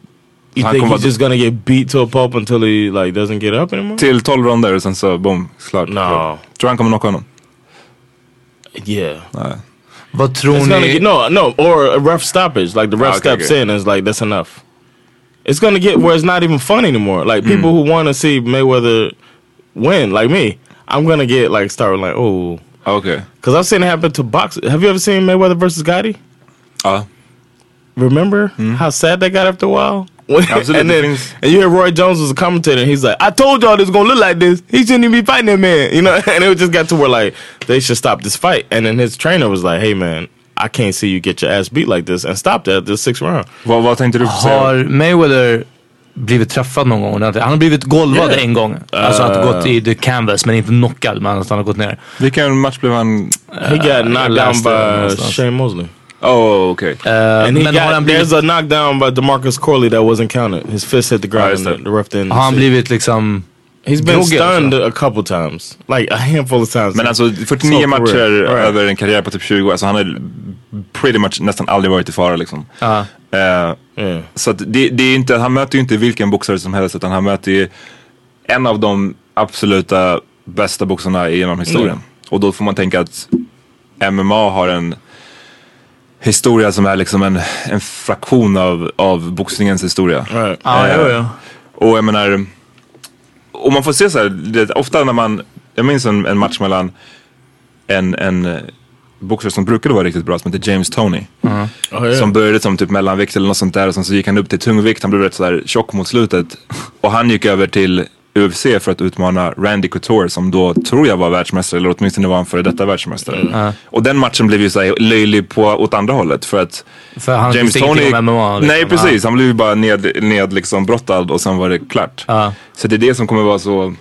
Speaker 2: think
Speaker 1: kommer
Speaker 2: he's
Speaker 1: vara
Speaker 2: just gonna get beat to a pulp until he like doesn't get up anymore?
Speaker 1: till 12 ronder och sen så boom, klart.
Speaker 2: No.
Speaker 1: Tror han kommer knocka honom?
Speaker 2: Yeah.
Speaker 4: Vad tror
Speaker 2: It's gonna
Speaker 4: ni...
Speaker 2: get no, no, or a ref stoppage. Like the ref
Speaker 1: Ah, okay,
Speaker 2: steps
Speaker 1: okay.
Speaker 2: in and is like, that's enough. It's gonna get where it's not even fun anymore. Like
Speaker 1: Hmm.
Speaker 2: people who wanna see Mayweather win, like me, I'm gonna get like start like, oh
Speaker 1: Ah, Okej.
Speaker 2: because I've seen it happen to box. Have you ever seen Mayweather versus Gotti?
Speaker 1: Ja.
Speaker 2: Remember how sad that got after a while? Hmm? When-
Speaker 1: Absolutely,
Speaker 2: and
Speaker 1: det
Speaker 2: then
Speaker 1: finns-
Speaker 2: and you hear Roy Jones was a commentator, and he's like, "I told y'all this gonna look like this. He shouldn't even be fighting that man." You know, and it just got to where like they should stop this fight. And then his trainer was like, "Hey man, I can't see you get your ass beat like this and stop that the sixth round."
Speaker 1: Vad, vad tänkte du säga?
Speaker 4: Har Mayweather blivit träffad någon gång? ordentligt? Han har blivit golvad
Speaker 2: Yeah.
Speaker 4: en gång. Alltså att gått i the canvas men inte knockad men att han har gått ner. Eh,
Speaker 1: Vilken match blev han...
Speaker 2: He got knocked down
Speaker 4: Uh, last round Uh,
Speaker 2: by
Speaker 4: någonstans.
Speaker 2: Shane Mosley.
Speaker 1: Oh, okej.
Speaker 4: Eh,
Speaker 2: And he
Speaker 4: men har
Speaker 2: got, there's
Speaker 4: han blivit,
Speaker 2: a knockdown by Demarcus Corley that wasn't counted. His fist hit the
Speaker 1: Ja,
Speaker 2: ground
Speaker 1: just
Speaker 2: and the,
Speaker 1: det.
Speaker 2: the ref didn't.
Speaker 4: har han
Speaker 2: see.
Speaker 4: blivit liksom...
Speaker 2: He's been
Speaker 4: drogad,
Speaker 2: stunned
Speaker 4: alltså?
Speaker 2: a couple times, like a handful of times.
Speaker 1: Men alltså
Speaker 2: So
Speaker 1: 49
Speaker 2: for
Speaker 1: matcher
Speaker 2: real.
Speaker 4: uh,
Speaker 2: All right.
Speaker 1: över en karriär på typ 20, alltså han har pretty much nästan aldrig varit i fara liksom. Eh,
Speaker 2: Yeah.
Speaker 1: Så att det, det är inte, han möter ju inte vilken boxare som helst utan han möter ju en av de absoluta bästa boxarna i MMA-historien.
Speaker 2: Mm.
Speaker 1: Och då får man tänka att MMA har en historia som är liksom en, en fraktion av, av boxningens historia.
Speaker 2: Right.
Speaker 4: Ja,
Speaker 1: Eh,
Speaker 4: jo, jo.
Speaker 1: Och jag menar, och man får se så här, det, ofta när man, jag minns en, en match mellan en, en eh, boxare som brukade vara riktigt bra som heter James Tony.
Speaker 2: Oh, yeah.
Speaker 1: Som började som typ mellanvikt eller något sånt där och sen så gick han upp till tungvikt, han blev rätt sådär tjock mot slutet. Och han gick över till UFC för att utmana Randy Couture som då tror jag var världsmästare eller åtminstone var han före detta världsmästare.
Speaker 4: Mm.
Speaker 1: Och den matchen blev ju såhär löjlig på, åt andra hållet för att
Speaker 4: För han
Speaker 1: James
Speaker 4: visste ingenting
Speaker 1: Tony,
Speaker 4: om MMA. liksom.
Speaker 1: nej precis, han blev ju bara ned, ned liksom brottad och sen var det klart.
Speaker 4: Ja.
Speaker 1: Så det är det som kommer vara så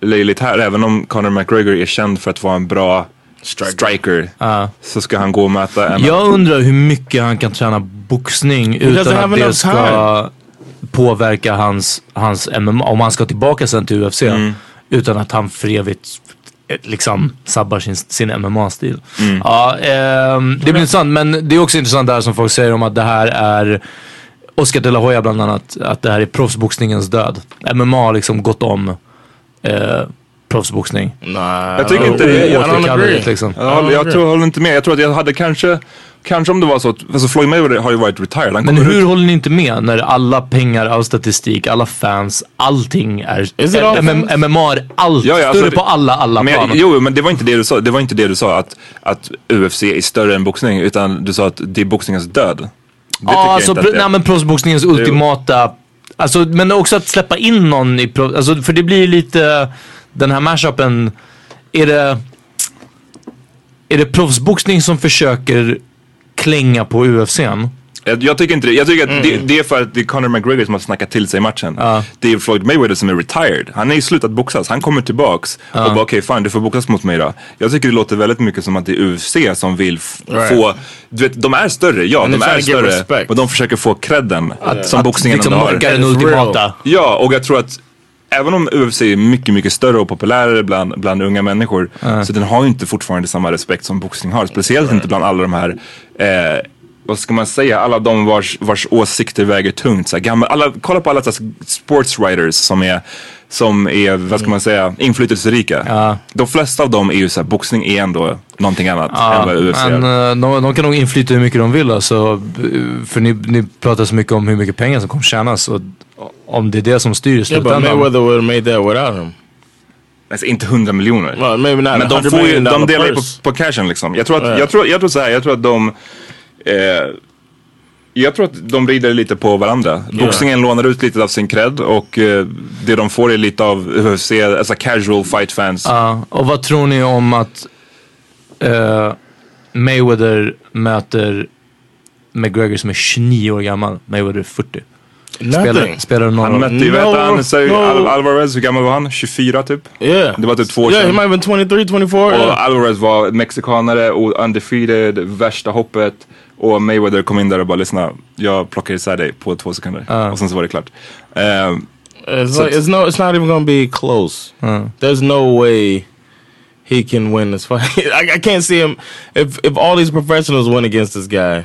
Speaker 1: löjligt här, även om Conor McGregor är känd för att vara en bra striker, så ska han gå och möta en
Speaker 4: Jag undrar hur mycket han kan träna boxning
Speaker 2: doesn't
Speaker 4: utan
Speaker 2: have
Speaker 4: att
Speaker 2: enough
Speaker 4: det ska påverka hans, hans MMA. Om han ska tillbaka sen till UFC. Utan att han för evigt eh, liksom sabbar sin, sin MMA-stil. Ja, ehm, det blir intressant, men det är också intressant där som folk säger om att det här är Oscar de la Hoya bland annat, att det här är proffsboxningens död. MMA har liksom gått om eh, proffsboxning.
Speaker 2: Nah, Oh,
Speaker 1: Jag tycker
Speaker 2: I don't-
Speaker 1: inte det.
Speaker 2: I don't
Speaker 1: Jag tycker
Speaker 2: agree.
Speaker 4: aldrig, liksom.
Speaker 1: Jag, håller, jag, tror, jag håller inte med. Jag tror att jag hade kanske, kanske om det var så att, alltså Floyd Mayweather har ju varit retired. Han
Speaker 4: Men
Speaker 1: kommer
Speaker 4: hur
Speaker 1: ut-
Speaker 4: håller ni inte med när alla pengar, all statistik, alla fans, allting är...
Speaker 2: Is it all
Speaker 4: MM,
Speaker 2: fans?
Speaker 4: MMA är allt.
Speaker 1: Ja, ja, alltså
Speaker 4: större
Speaker 1: det-
Speaker 4: på alla, alla
Speaker 1: men jag,
Speaker 4: plan.
Speaker 1: jo, men det var inte det du sa. Det var inte det du sa att, att UFC är större än boxning. Utan du sa att det är boxningens död. Det tycker
Speaker 4: Ja,
Speaker 1: jag
Speaker 4: alltså,
Speaker 1: inte att
Speaker 4: pr-
Speaker 1: det är.
Speaker 4: nej, men proffsboxningens ultimata... Alltså, men också att släppa in någon i proffs... Alltså, för det blir ju lite... Den här mashupen, är det... Är det proffsboxning som försöker klänga på UFCn?
Speaker 1: jag, jag tycker inte det. Jag tycker att det, det är för att det är Conor McGregor som har snackat till sig matchen. Det är Floyd Mayweather som är retired. Han är ju slutat boxas. Han kommer tillbaks och bara okej fine du får boxas mot mig då. Jag tycker det låter väldigt mycket som att det är UFC som vill f-
Speaker 2: Right.
Speaker 1: få, du vet de är större, ja
Speaker 2: And
Speaker 1: de
Speaker 2: they're
Speaker 1: är
Speaker 2: trying to give
Speaker 1: större.
Speaker 2: respect.
Speaker 1: Men de försöker få credden som boxningen
Speaker 4: liksom
Speaker 1: ändå har.
Speaker 4: mocka
Speaker 2: It's
Speaker 4: den
Speaker 2: real.
Speaker 4: ultimata.
Speaker 1: Ja, och jag tror att även om UFC är mycket, mycket större och populärare bland, bland unga människor så den har ju inte fortfarande samma respekt som boxning har. Speciellt inte bland alla de här, eh, vad ska man säga, alla de vars, vars åsikter väger tungt. Så här, gamla, alla, kolla på alla så här, sports writers som är som är, vad ska man säga, inflytelserika. De flesta av dem är ju såhär, boxning är ändå någonting annat än vad UFC
Speaker 4: Men
Speaker 1: är.
Speaker 4: eh, de, de kan nog inflyta hur mycket de vill alltså. B- För ni, ni pratar så mycket om hur mycket pengar som kommer tjänas och om det är det som styr i
Speaker 2: Yeah, but
Speaker 4: slutändan.
Speaker 2: Mayweather would have made that without him.
Speaker 1: Alltså inte 100 miljoner.
Speaker 2: Well, maybe not.
Speaker 1: Men de,
Speaker 2: 100
Speaker 1: får ju,
Speaker 2: million
Speaker 1: de
Speaker 2: dollar
Speaker 1: delar ju på,
Speaker 2: purse.
Speaker 1: på cashen liksom. Jag tror att,
Speaker 2: Ja.
Speaker 1: jag tror, jag tror så här, jag tror att de... Eh, jag tror att de rider lite på varandra. Boxningen lånar ut lite av sin cred och eh, det de får är lite av UFC, alltså casual fight fans.
Speaker 4: Ja, Eh, och vad tror ni om att eh, Mayweather möter McGregor som är 29 år gammal? Mayweather är 40. Spelar,
Speaker 2: Nothing.
Speaker 4: spelar någon
Speaker 1: han
Speaker 4: av-
Speaker 1: mötte ju,
Speaker 2: No,
Speaker 1: vet han, så,
Speaker 2: no.
Speaker 1: Al Alvarez, hur gammal var han? 24 typ?
Speaker 2: Yeah.
Speaker 1: Det var typ två år
Speaker 2: Yeah, he
Speaker 1: sedan.
Speaker 2: might have been 23, 24. yeah.
Speaker 1: Och Alvarez var mexikanare och undefeated, värsta hoppet. Och Mayweather kom in där och bara lyssna, jag plockar isär dig på två sekunder. Och sen så var det klart. Eh,
Speaker 2: It's, like, it's no, it's not even gonna be close. There's no way he can win this fight. I, I can't see him. If if all these professionals went against this guy,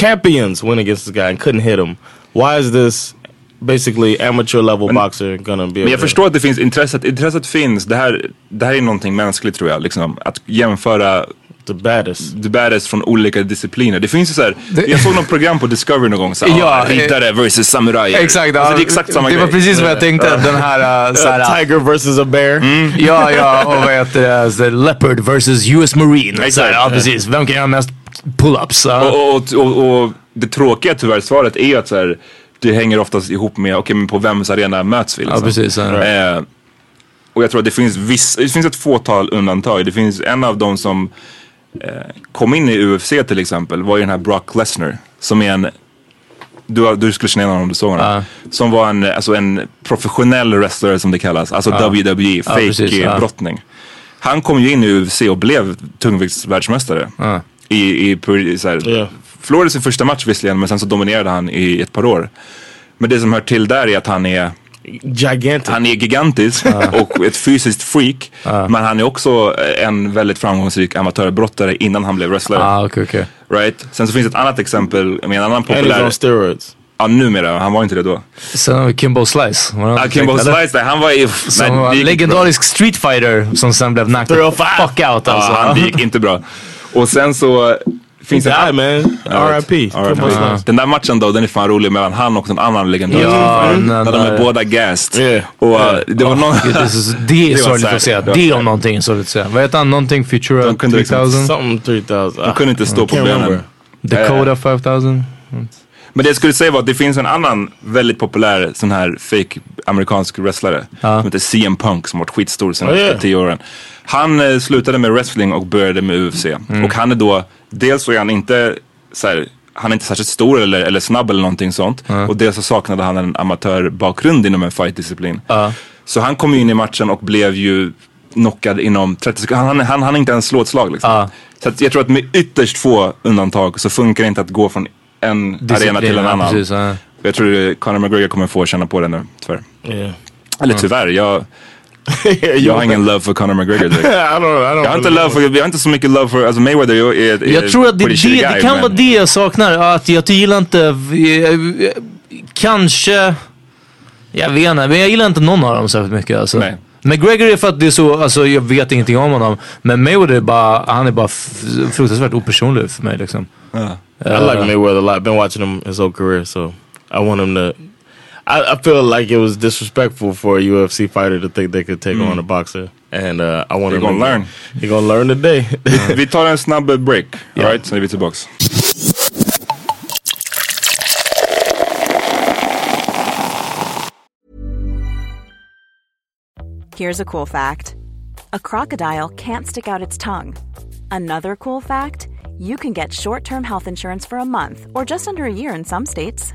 Speaker 2: champions went against this guy and couldn't hit him, why is this basically amateur level boxer gonna be?
Speaker 1: Men
Speaker 2: able
Speaker 1: jag
Speaker 2: to-
Speaker 1: förstår att det finns, intresset, intresset finns. Det här, det här är någonting mänskligt tror jag. Liksom. Att jämföra
Speaker 2: the baddest.
Speaker 1: the baddest från olika discipliner. Det finns ju så här, jag såg någon program på Discovery någon gång. Så, här,
Speaker 4: Ja,
Speaker 1: ah, riddare versus samurajer.
Speaker 4: Exakt,
Speaker 1: alltså,
Speaker 4: ja.
Speaker 1: det är exakt samma
Speaker 4: det var
Speaker 1: grej.
Speaker 4: precis vad jag tänkte. att Den här, uh, såhär,
Speaker 2: Tiger versus a bear.
Speaker 4: Ja, ja, och vad heter det? The Leopard versus US Marine.
Speaker 1: Exakt.
Speaker 4: Så här, ja, precis. Vem kan göra mest pull-ups? Ja.
Speaker 1: Och, och, och, och, och det tråkiga tyvärr svaret är ju att så här, det hänger oftast ihop med, okej men på vems arena möts vi? liksom?
Speaker 4: Ja, precis. Ja.
Speaker 1: Eh, och jag tror att det finns, viss, det finns ett fåtal undantag. Det finns en av dem som eh, kom in i UFC till exempel var ju den här Brock Lesnar. Som är en, du, du skulle känna igen honom om du såg honom.
Speaker 4: Ja.
Speaker 1: Som var en, alltså en professionell wrestler som det kallas. Alltså WWE,
Speaker 4: precis,
Speaker 1: fake
Speaker 4: ja.
Speaker 1: eh, brottning. Han kom ju in i UFC och blev tungviktsvärldsmästare.
Speaker 4: Ja.
Speaker 1: I, i, i så här,
Speaker 2: Ja.
Speaker 1: Förlorade sin första match visserligen men sen så dominerade han i ett par år. Men det som hör till där är att han är
Speaker 2: Gigantic.
Speaker 1: han är gigantisk och ett fysiskt freak. Men han är också en väldigt framgångsrik amatörbrottare innan han blev wrestler.
Speaker 4: Ah, okej, okej.
Speaker 1: Right? Sen så finns ett annat exempel med en annan
Speaker 2: and he's on
Speaker 1: populär...
Speaker 2: steroids.
Speaker 1: Ja, numera. Han var inte det då.
Speaker 4: Sen har vi Kimbo Slice. Var det
Speaker 1: Ah,
Speaker 4: något
Speaker 1: Kimbo
Speaker 4: direkt, eller?
Speaker 1: Slice, nej, han var i...
Speaker 4: Som
Speaker 1: det
Speaker 4: var
Speaker 1: gick
Speaker 4: en
Speaker 1: inte
Speaker 4: legendarisk streetfighter som sen blev knocked the
Speaker 2: 305.
Speaker 4: fuck out
Speaker 1: bra.
Speaker 4: alltså.
Speaker 1: Ja, han det gick inte bra. Och sen så
Speaker 2: He
Speaker 1: finns det...
Speaker 2: died, man. R.I.P. Kimbo Slice.
Speaker 1: Den där matchen då, den är fan rolig mellan han och en annan legendarisk
Speaker 4: Ja,
Speaker 1: fighter.
Speaker 4: den
Speaker 1: När de är
Speaker 4: där-
Speaker 1: båda gassed.
Speaker 2: Yeah.
Speaker 1: Och eh, det var någon...
Speaker 4: Gud, det är så- det är
Speaker 1: var
Speaker 4: sorgligt
Speaker 1: sad.
Speaker 4: att säga.
Speaker 1: Det var
Speaker 4: Det
Speaker 1: sad.
Speaker 4: om någonting är sorgligt att säga. Vad heter han? Någonting Futura
Speaker 1: De kunde liksom-
Speaker 4: 3000?
Speaker 2: Something 3000.
Speaker 1: De kunde inte
Speaker 4: Mm,
Speaker 1: stå på
Speaker 2: Can't
Speaker 1: benen.
Speaker 2: remember.
Speaker 4: Dakota 5000?
Speaker 1: Men det jag skulle säga var att det finns en annan väldigt populär sån här fake amerikansk wrestlare. Som heter CM Punk som har varit skitstor sedan
Speaker 2: Oh, yeah.
Speaker 1: tio åren. Han eh, slutade med wrestling och började med UFC. Och han är då, dels så är han inte så här, han är inte särskilt stor eller, eller snabb eller någonting sånt. Och dels så saknade han en amatörbakgrund inom en fightdisciplin. Så han kom ju in i matchen och blev ju knockad inom 30 sekunder. Han, han, han hann inte ens slå ett slag liksom.
Speaker 4: Ah.
Speaker 1: Så att jag tror att med ytterst få undantag så funkar det inte att gå från en arena till en
Speaker 4: Ja,
Speaker 1: annan.
Speaker 4: Precis, ja.
Speaker 1: Jag tror Conor McGregor kommer få känna på det nu, tyvärr.
Speaker 2: Ah, Yeah.
Speaker 1: Eller tyvärr, jag, jag har ingen love för Conor McGregor direkt.
Speaker 2: I don't know. I don't
Speaker 1: Jag har inte, love för, jag har inte så mycket love för, alltså Mayweather är, är, är
Speaker 4: Jag tror att det,
Speaker 1: pretty
Speaker 4: det,
Speaker 1: shitty
Speaker 4: det
Speaker 1: guy,
Speaker 4: kan
Speaker 1: men-
Speaker 4: vara det jag saknar. Att jag gillar inte... eh, Kanske... Jag vet inte, men jag gillar inte någon av dem särskilt mycket. Alltså.
Speaker 1: Nej.
Speaker 4: McGregor är för att det är så, alltså jag vet ingenting om honom. Men Mayweather är bara, han är bara f- fruktansvärt opersonlig för mig liksom.
Speaker 2: I
Speaker 1: Uh,
Speaker 2: like Mayweather a lot. Been watching him his whole career, so I want him to. I, I feel like it was disrespectful for a UFC fighter to think they could take on a boxer, and uh, I want
Speaker 1: He
Speaker 2: him
Speaker 1: Mm. gonna
Speaker 2: to
Speaker 1: learn.
Speaker 2: He gonna learn today.
Speaker 1: Vi tar en snabb eh, break, alright? Sen är vi tillbaks.
Speaker 5: Here's a cool fact a crocodile can't stick out its tongue. Another cool fact you can get short term health insurance for a month or just under a year in some states.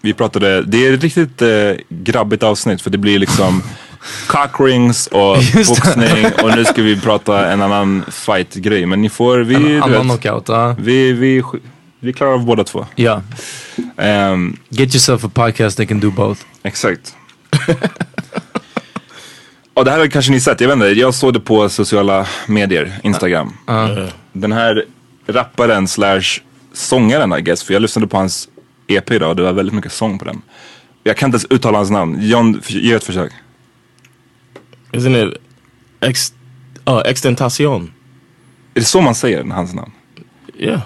Speaker 1: vi pratade, det är ett riktigt eh, grabbigt avsnitt för det blir liksom cockrings och boxning och nu ska vi prata en annan fight-grej. Men ni får, vi, du
Speaker 4: Annan
Speaker 1: vet,
Speaker 4: knockout. ja.
Speaker 1: vi, vi, sk- vi klarar av båda två.
Speaker 4: Ja.
Speaker 1: Ehm,
Speaker 4: Get yourself a podcast that can do both.
Speaker 1: exakt. och det här har kanske ni sett, jag vet inte, jag såg det på sociala medier, Instagram. Den här rapparen slash sångaren I guess, för jag lyssnade på hans EP idag och det var väldigt mycket sång på den. Jag kan inte ens uttala hans namn, John, f- ge ett försök.
Speaker 2: Isn't it ex? Oh, extentacion.
Speaker 1: Är det så man säger hans namn?
Speaker 2: Yeah.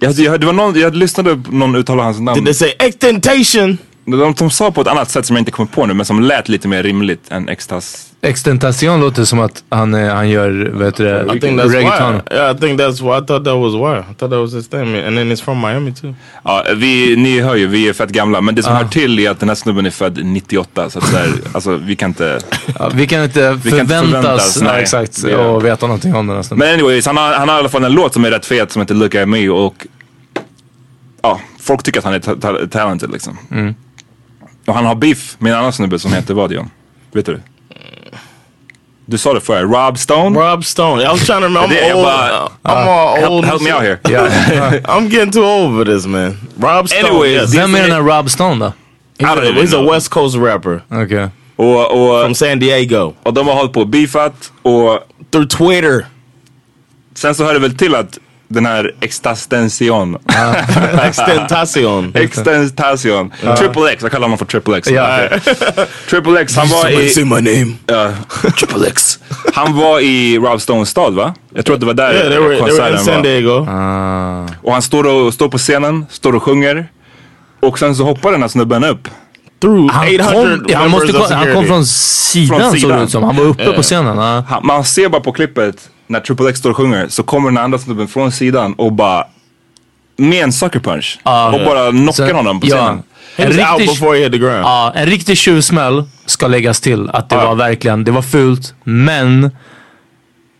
Speaker 1: Jag, jag, det var någon, jag lyssnade på någon uttala hans namn.
Speaker 2: Did they say extentation?
Speaker 1: De, de sa på ett annat sätt som jag inte kommer på nu, men som lät lite mer rimligt än extas.
Speaker 4: Extentation låter som att han, eh, han gör, vad heter det,
Speaker 2: I think that's
Speaker 4: reggaeton.
Speaker 2: why. Yeah, I think that's why. I thought that was why. I thought that was his thing. And then it's from Miami too.
Speaker 1: Ja, vi, ni hör ju, vi är fett gamla. Men det som hör till är att den här snubben är född 98. Så att så här, alltså, vi kan inte...
Speaker 4: vi kan inte förväntas, nej,
Speaker 1: nej.
Speaker 4: exakt,
Speaker 1: Det-
Speaker 4: och veta någonting om den här snubben.
Speaker 1: Men anyways, han har, han har i alla fall en låt som är rätt fet som heter Look at me och ja, folk tycker att han är ta- ta- talented liksom.
Speaker 4: Mm.
Speaker 1: Och han har beef med en annan snubbe som heter vad John? Vet du? Du sa det förr, Rob Stone?
Speaker 2: Rob Stone, I was trying to remember. I'm old. I'm all
Speaker 1: help,
Speaker 2: old.
Speaker 1: Help me out here.
Speaker 2: I'm getting too old for this, man. Rob Stone.
Speaker 1: Anyways,
Speaker 2: yes.
Speaker 1: Vem är den här
Speaker 4: Rob Stone då?
Speaker 2: He's, a, he's a West Coast rapper.
Speaker 4: Okay.
Speaker 1: Och, och,
Speaker 2: From San Diego.
Speaker 1: Och de har hållit på och beefat och...
Speaker 2: Through Twitter.
Speaker 1: Sen så hör det väl till att den här extastension.
Speaker 2: Extentation.
Speaker 1: Extentation.
Speaker 2: Ja.
Speaker 1: Triple X, jag kallar honom för Triple X.
Speaker 2: Ja.
Speaker 1: Eh, Triple X, han var
Speaker 2: Somebody
Speaker 1: i...
Speaker 2: say my name.
Speaker 1: Ja. Triple X. Han var i Rob Stones stad va? Jag tror att det var där
Speaker 2: Yeah, they were- they were in San Diego.
Speaker 1: Och han står, och, står på scenen, står och sjunger. Och sen så hoppar den här snubben upp.
Speaker 2: Through
Speaker 4: Han kom,
Speaker 2: Ah,
Speaker 4: ja, han, måste, kom- han kom från sidan, såg det ut som. Han var uppe
Speaker 1: Eh,
Speaker 4: på scenen. ja.
Speaker 1: Han- Man ser bara på klippet när Triple X står och sjunger så kommer den andra snubben från sidan och bara med en sucker punch. och bara knockar
Speaker 4: Så-
Speaker 1: honom på
Speaker 4: ja.
Speaker 1: scenen.
Speaker 4: En riktig-
Speaker 2: Ah,
Speaker 4: Ja, en riktig tjuvsmäll ska läggas till. Att det var verkligen, det var fult. Men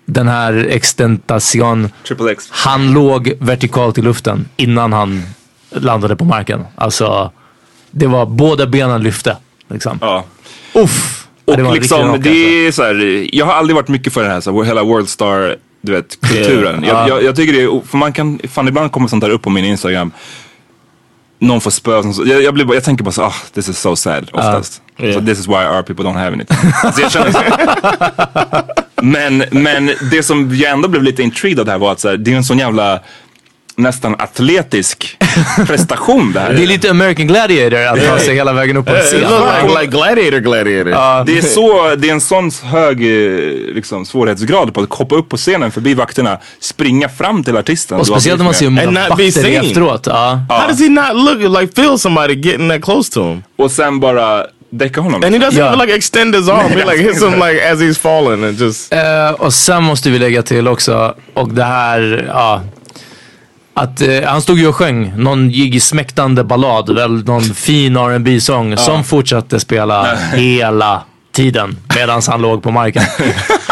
Speaker 4: den här extentation,
Speaker 1: Triple X.
Speaker 4: han låg vertikalt i luften innan han landade på marken. Alltså, det var båda benen lyfte. Liksom.
Speaker 1: Ja.
Speaker 4: Uff! Ja,
Speaker 1: Och
Speaker 4: det var en riktig alltså.
Speaker 1: liksom,
Speaker 4: knock,
Speaker 1: det är så här, jag har aldrig varit mycket för den här, så här hela Worldstar, du vet, kulturen.
Speaker 2: Ja.
Speaker 1: Jag, jag, jag tycker det är, för man kan, fan ibland kommer sånt där upp på min Instagram. Någon får spö, och sånt, så- jag, jag, blir bara, jag tänker bara så ah, this is so sad oftast. So this is why our people don't have anything. alltså jag känner så. men, men det som jag ändå blev lite intrigued av det här var att så här, det är en sån jävla nästan atletisk prestation det här.
Speaker 4: Det är lite American Gladiator att ta sig hela vägen upp på en scen.
Speaker 2: ah. gladiator gladiator.
Speaker 4: Ja.
Speaker 1: det, är så, det är en sån hög eh, liksom, svårighetsgrad på att hoppa upp på scenen förbi vakterna, springa fram till artisten.
Speaker 2: Och
Speaker 1: du har
Speaker 2: speciellt
Speaker 1: blivit
Speaker 2: om man
Speaker 1: med.
Speaker 2: ser hur många And not be vakter det är seen. efteråt, How does he not look like feel somebody getting that close to him?
Speaker 1: Och sen bara däcka honom.
Speaker 2: And he doesn't even like extend his arm. he like hits him like as he's falling and just.
Speaker 4: Eh, och sen måste vi lägga till också, och det här, ja. Att eh, han stod ju och sjöng någon jiggsmäktande ballad, väl någon fin rb sång som fortsatte spela hela tiden medan han låg på marken.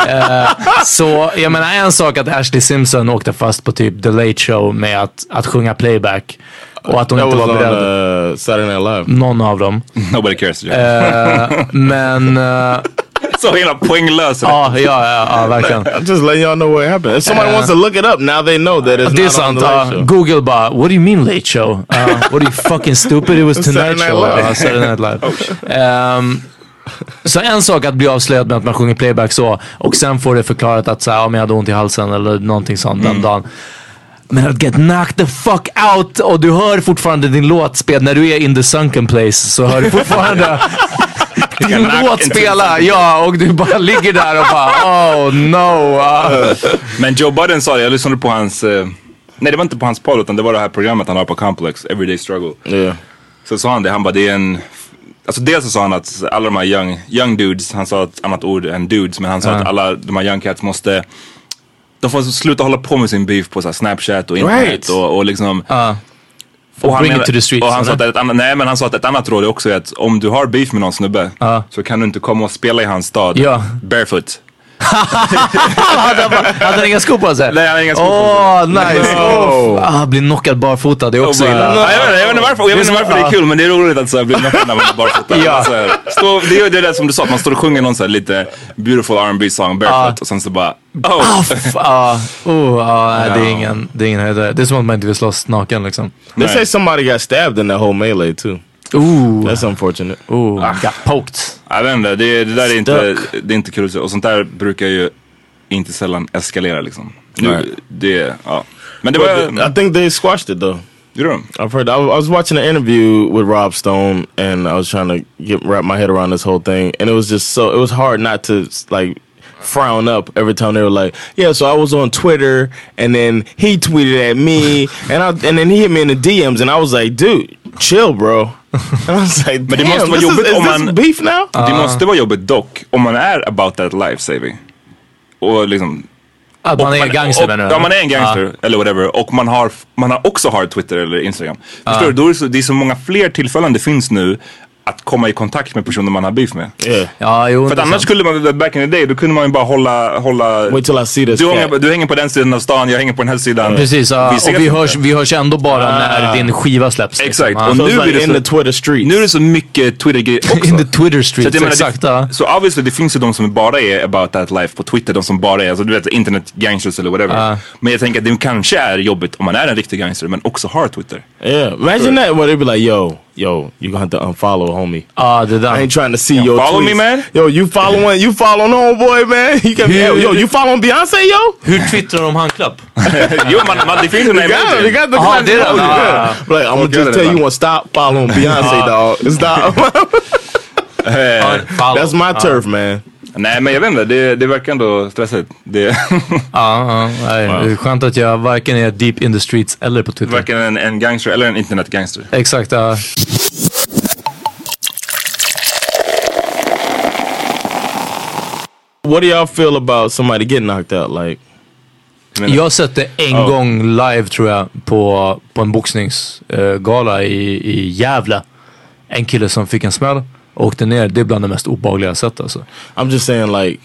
Speaker 4: Eh, så jag menar en sak att Ashley Simpson åkte fast på typ The Late Show med att, att sjunga playback och att hon
Speaker 2: That
Speaker 4: inte
Speaker 2: was
Speaker 4: var
Speaker 2: on
Speaker 4: beredd.
Speaker 2: uh, Saturday Night Live.
Speaker 4: Någon av dem.
Speaker 1: Nobody cares.
Speaker 4: Eh, men... eh,
Speaker 1: så hela poänglös.
Speaker 4: Ja, ja, ja, ja, verkligen.
Speaker 2: I'm just letting y'all know what happened. If somebody
Speaker 4: Uh,
Speaker 2: wants to look it up, now they know that it's
Speaker 4: Det
Speaker 2: not
Speaker 4: är
Speaker 2: on
Speaker 4: sant.
Speaker 2: the live
Speaker 4: ja.
Speaker 2: show.
Speaker 4: Google bara, what do you mean late show? Uh, what are you fucking stupid? It was
Speaker 2: Saturday
Speaker 4: tonight
Speaker 2: Night
Speaker 4: show.
Speaker 2: Live.
Speaker 4: Ja, Saturday Night
Speaker 1: Oh,
Speaker 4: Live. Ehm, så en sak att bli avslöjad med att man sjunger playback så och sen får det förklarat att så här, ja, men jag hade ont i halsen eller någonting sånt
Speaker 1: Mm.
Speaker 4: den dagen. Men att get knocked the fuck out och du hör fortfarande din låt spela. När du är in the sunken place så hör du fortfarande din
Speaker 1: knocked
Speaker 4: låt
Speaker 1: into the
Speaker 4: spela. Ja, och du bara ligger där och bara oh no. ah."
Speaker 1: Men Joe Budden sa det, jag lyssnade på hans, eh, nej det var inte på hans podd utan det var det här programmet han har på Complex, Everyday Struggle.
Speaker 2: Yeah.
Speaker 1: Så sa han det, han bara det är en Alltså dels så sa han att alla de här young, young dudes, han sa ett annat ord än dudes, men han sa
Speaker 4: Ja.
Speaker 1: att alla de här young cats måste De får sluta hålla på med sin beef på så här Snapchat och internet
Speaker 2: Right.
Speaker 1: och, och liksom
Speaker 4: Ja.
Speaker 1: Och
Speaker 4: bring it
Speaker 1: menar-
Speaker 4: to the streets, alltså.
Speaker 1: Och han, sa att
Speaker 4: eller?
Speaker 1: ett annat, nej, men han sa att ett annat råd är också att om du har beef med någon snubbe så kan du inte komma och spela i hans stad
Speaker 4: Ja.
Speaker 1: barefoot.
Speaker 4: hade, han bara- hade han inga skor på sig?
Speaker 1: Nej, han har inga skor på
Speaker 4: Åh, nice!
Speaker 1: No.
Speaker 4: Åh, f- ah, blir knockad barfota, det är också
Speaker 1: Och bara-
Speaker 4: illa.
Speaker 1: Ja, jag, vet, inte- jag vet inte varför, jag vet inte varför det är kul men det är roligt att så här, bli knockad när man är barfota.
Speaker 4: Ja.
Speaker 1: Så här, stå, det är ju det där som du sa, att man står och sjunger någon så här lite beautiful R&B song barefoot och sen så bara oh.
Speaker 4: Aff, ah, oh, ah, nej, det är ingen, det är ingen höjdare. Det är som att man inte vill slåss naken liksom.
Speaker 2: They say somebody got stabbed in that whole melee too.
Speaker 4: Ooh,
Speaker 2: That's unfortunate.
Speaker 4: ooh, got poked.
Speaker 1: Jag vet inte, det, det där är inte,
Speaker 2: Stuck.
Speaker 1: det är inte kul. Och sånt där brukar ju inte sällan eskalera liksom.
Speaker 2: Nej.
Speaker 1: Nu, det, ja. Men det
Speaker 2: But
Speaker 1: var...
Speaker 2: I think they squashed it though.
Speaker 1: Gjorde de?
Speaker 2: I've heard. I, I was watching an interview with Rob Stone, and I was trying to get wrap my head around this whole thing, and it was just so it was hard not to like frown up every time they were like, "Yeah." So I was on Twitter, and then he tweeted at me, and I and then he hit me in the DMs, and I was like, "Dude, chill bro. And I was like,
Speaker 1: Men det
Speaker 2: damn,
Speaker 1: måste vara
Speaker 2: this is,
Speaker 1: jobbigt
Speaker 2: is
Speaker 1: om
Speaker 2: this
Speaker 1: man... Uh,
Speaker 2: beef now?
Speaker 1: Det måste vara jobbigt dock, om man är about that life saving. Och liksom...
Speaker 4: Att Ah, man
Speaker 1: och
Speaker 4: är gangster,
Speaker 1: och,
Speaker 4: menar du? Ah.
Speaker 1: Ja, man är en gangster eller whatever. Och man har, man har också har Twitter eller Instagram. Förstår du? Då är det, så, det är så många fler tillfällen det finns nu att komma i kontakt med personer man har beef med.
Speaker 4: Ja, jo,
Speaker 1: För att
Speaker 4: det är
Speaker 1: annars
Speaker 4: sant.
Speaker 1: skulle man, back in the day, då kunde man ju bara hålla... hålla
Speaker 2: Wait till I see this
Speaker 1: du, hänger,
Speaker 2: cat.
Speaker 1: du hänger på den sidan av stan, jag hänger på den här sidan.
Speaker 4: Precis, ja.
Speaker 1: ses
Speaker 4: och vi
Speaker 1: inte.
Speaker 4: hörs, vi hörs ändå bara när din skiva släpps. liksom.
Speaker 1: Ah. Exakt,
Speaker 4: Ja.
Speaker 1: och nu
Speaker 2: Feels
Speaker 1: blir
Speaker 2: like
Speaker 1: det
Speaker 2: in
Speaker 1: så...
Speaker 2: the Twitter streets.
Speaker 1: Nu är det så mycket Twitter-grejer också.
Speaker 4: In the Twitter
Speaker 1: Så
Speaker 4: streets,
Speaker 1: att jag menar,
Speaker 4: exakt. ah.
Speaker 1: det,
Speaker 4: ja.
Speaker 1: Så obviously det finns ju de som bara är about that life på Twitter. De som bara är, alltså, du vet internet gangsters eller whatever.
Speaker 4: Ja.
Speaker 1: Men jag tänker att det kanske är jobbigt om man är en riktig gangster men också har Twitter.
Speaker 2: Yeah, imagine that where they be like, yo, yo, you gonna have to unfollow homie.
Speaker 4: Ja, Ah, det
Speaker 2: I ain't
Speaker 4: där.
Speaker 2: trying to see your
Speaker 1: follow
Speaker 2: tweets.
Speaker 1: me, man.
Speaker 2: Yo, you following, you following homeboy, man. You can,
Speaker 4: Yeah.
Speaker 2: yo, yo, you following Beyonce, yo.
Speaker 4: Hur twittrar de handklapp?
Speaker 1: jo man, man, det finns ju den här
Speaker 2: You got, him, you
Speaker 1: emoji.
Speaker 2: got the
Speaker 4: Oh, I
Speaker 2: classic
Speaker 4: did it.
Speaker 2: emoji,
Speaker 4: Ah.
Speaker 2: yeah. Like, I'm gonna
Speaker 1: Okay,
Speaker 2: just tell
Speaker 1: then.
Speaker 2: you, want stop following Beyonce, dog. Stop.
Speaker 1: Eh,
Speaker 4: Follow.
Speaker 2: That's my turf, man.
Speaker 1: Nej men jag vet inte, det, det verkar ändå stressigt. Det
Speaker 4: Ja, ja, nej, det är skönt att jag varken är deep in the streets eller på Twitter.
Speaker 1: verkar en, en gangster eller en internetgangster.
Speaker 4: Exakt, ja.
Speaker 2: What do y'all feel about somebody getting knocked out? Like,
Speaker 1: menar-
Speaker 4: Jag har sett det en gång live tror jag på, på en boxningsgala i, i Gävle. En kille som fick en smäll och åkte ner. Det är bland det mest obehagliga jag sett alltså.
Speaker 2: I'm just saying, like,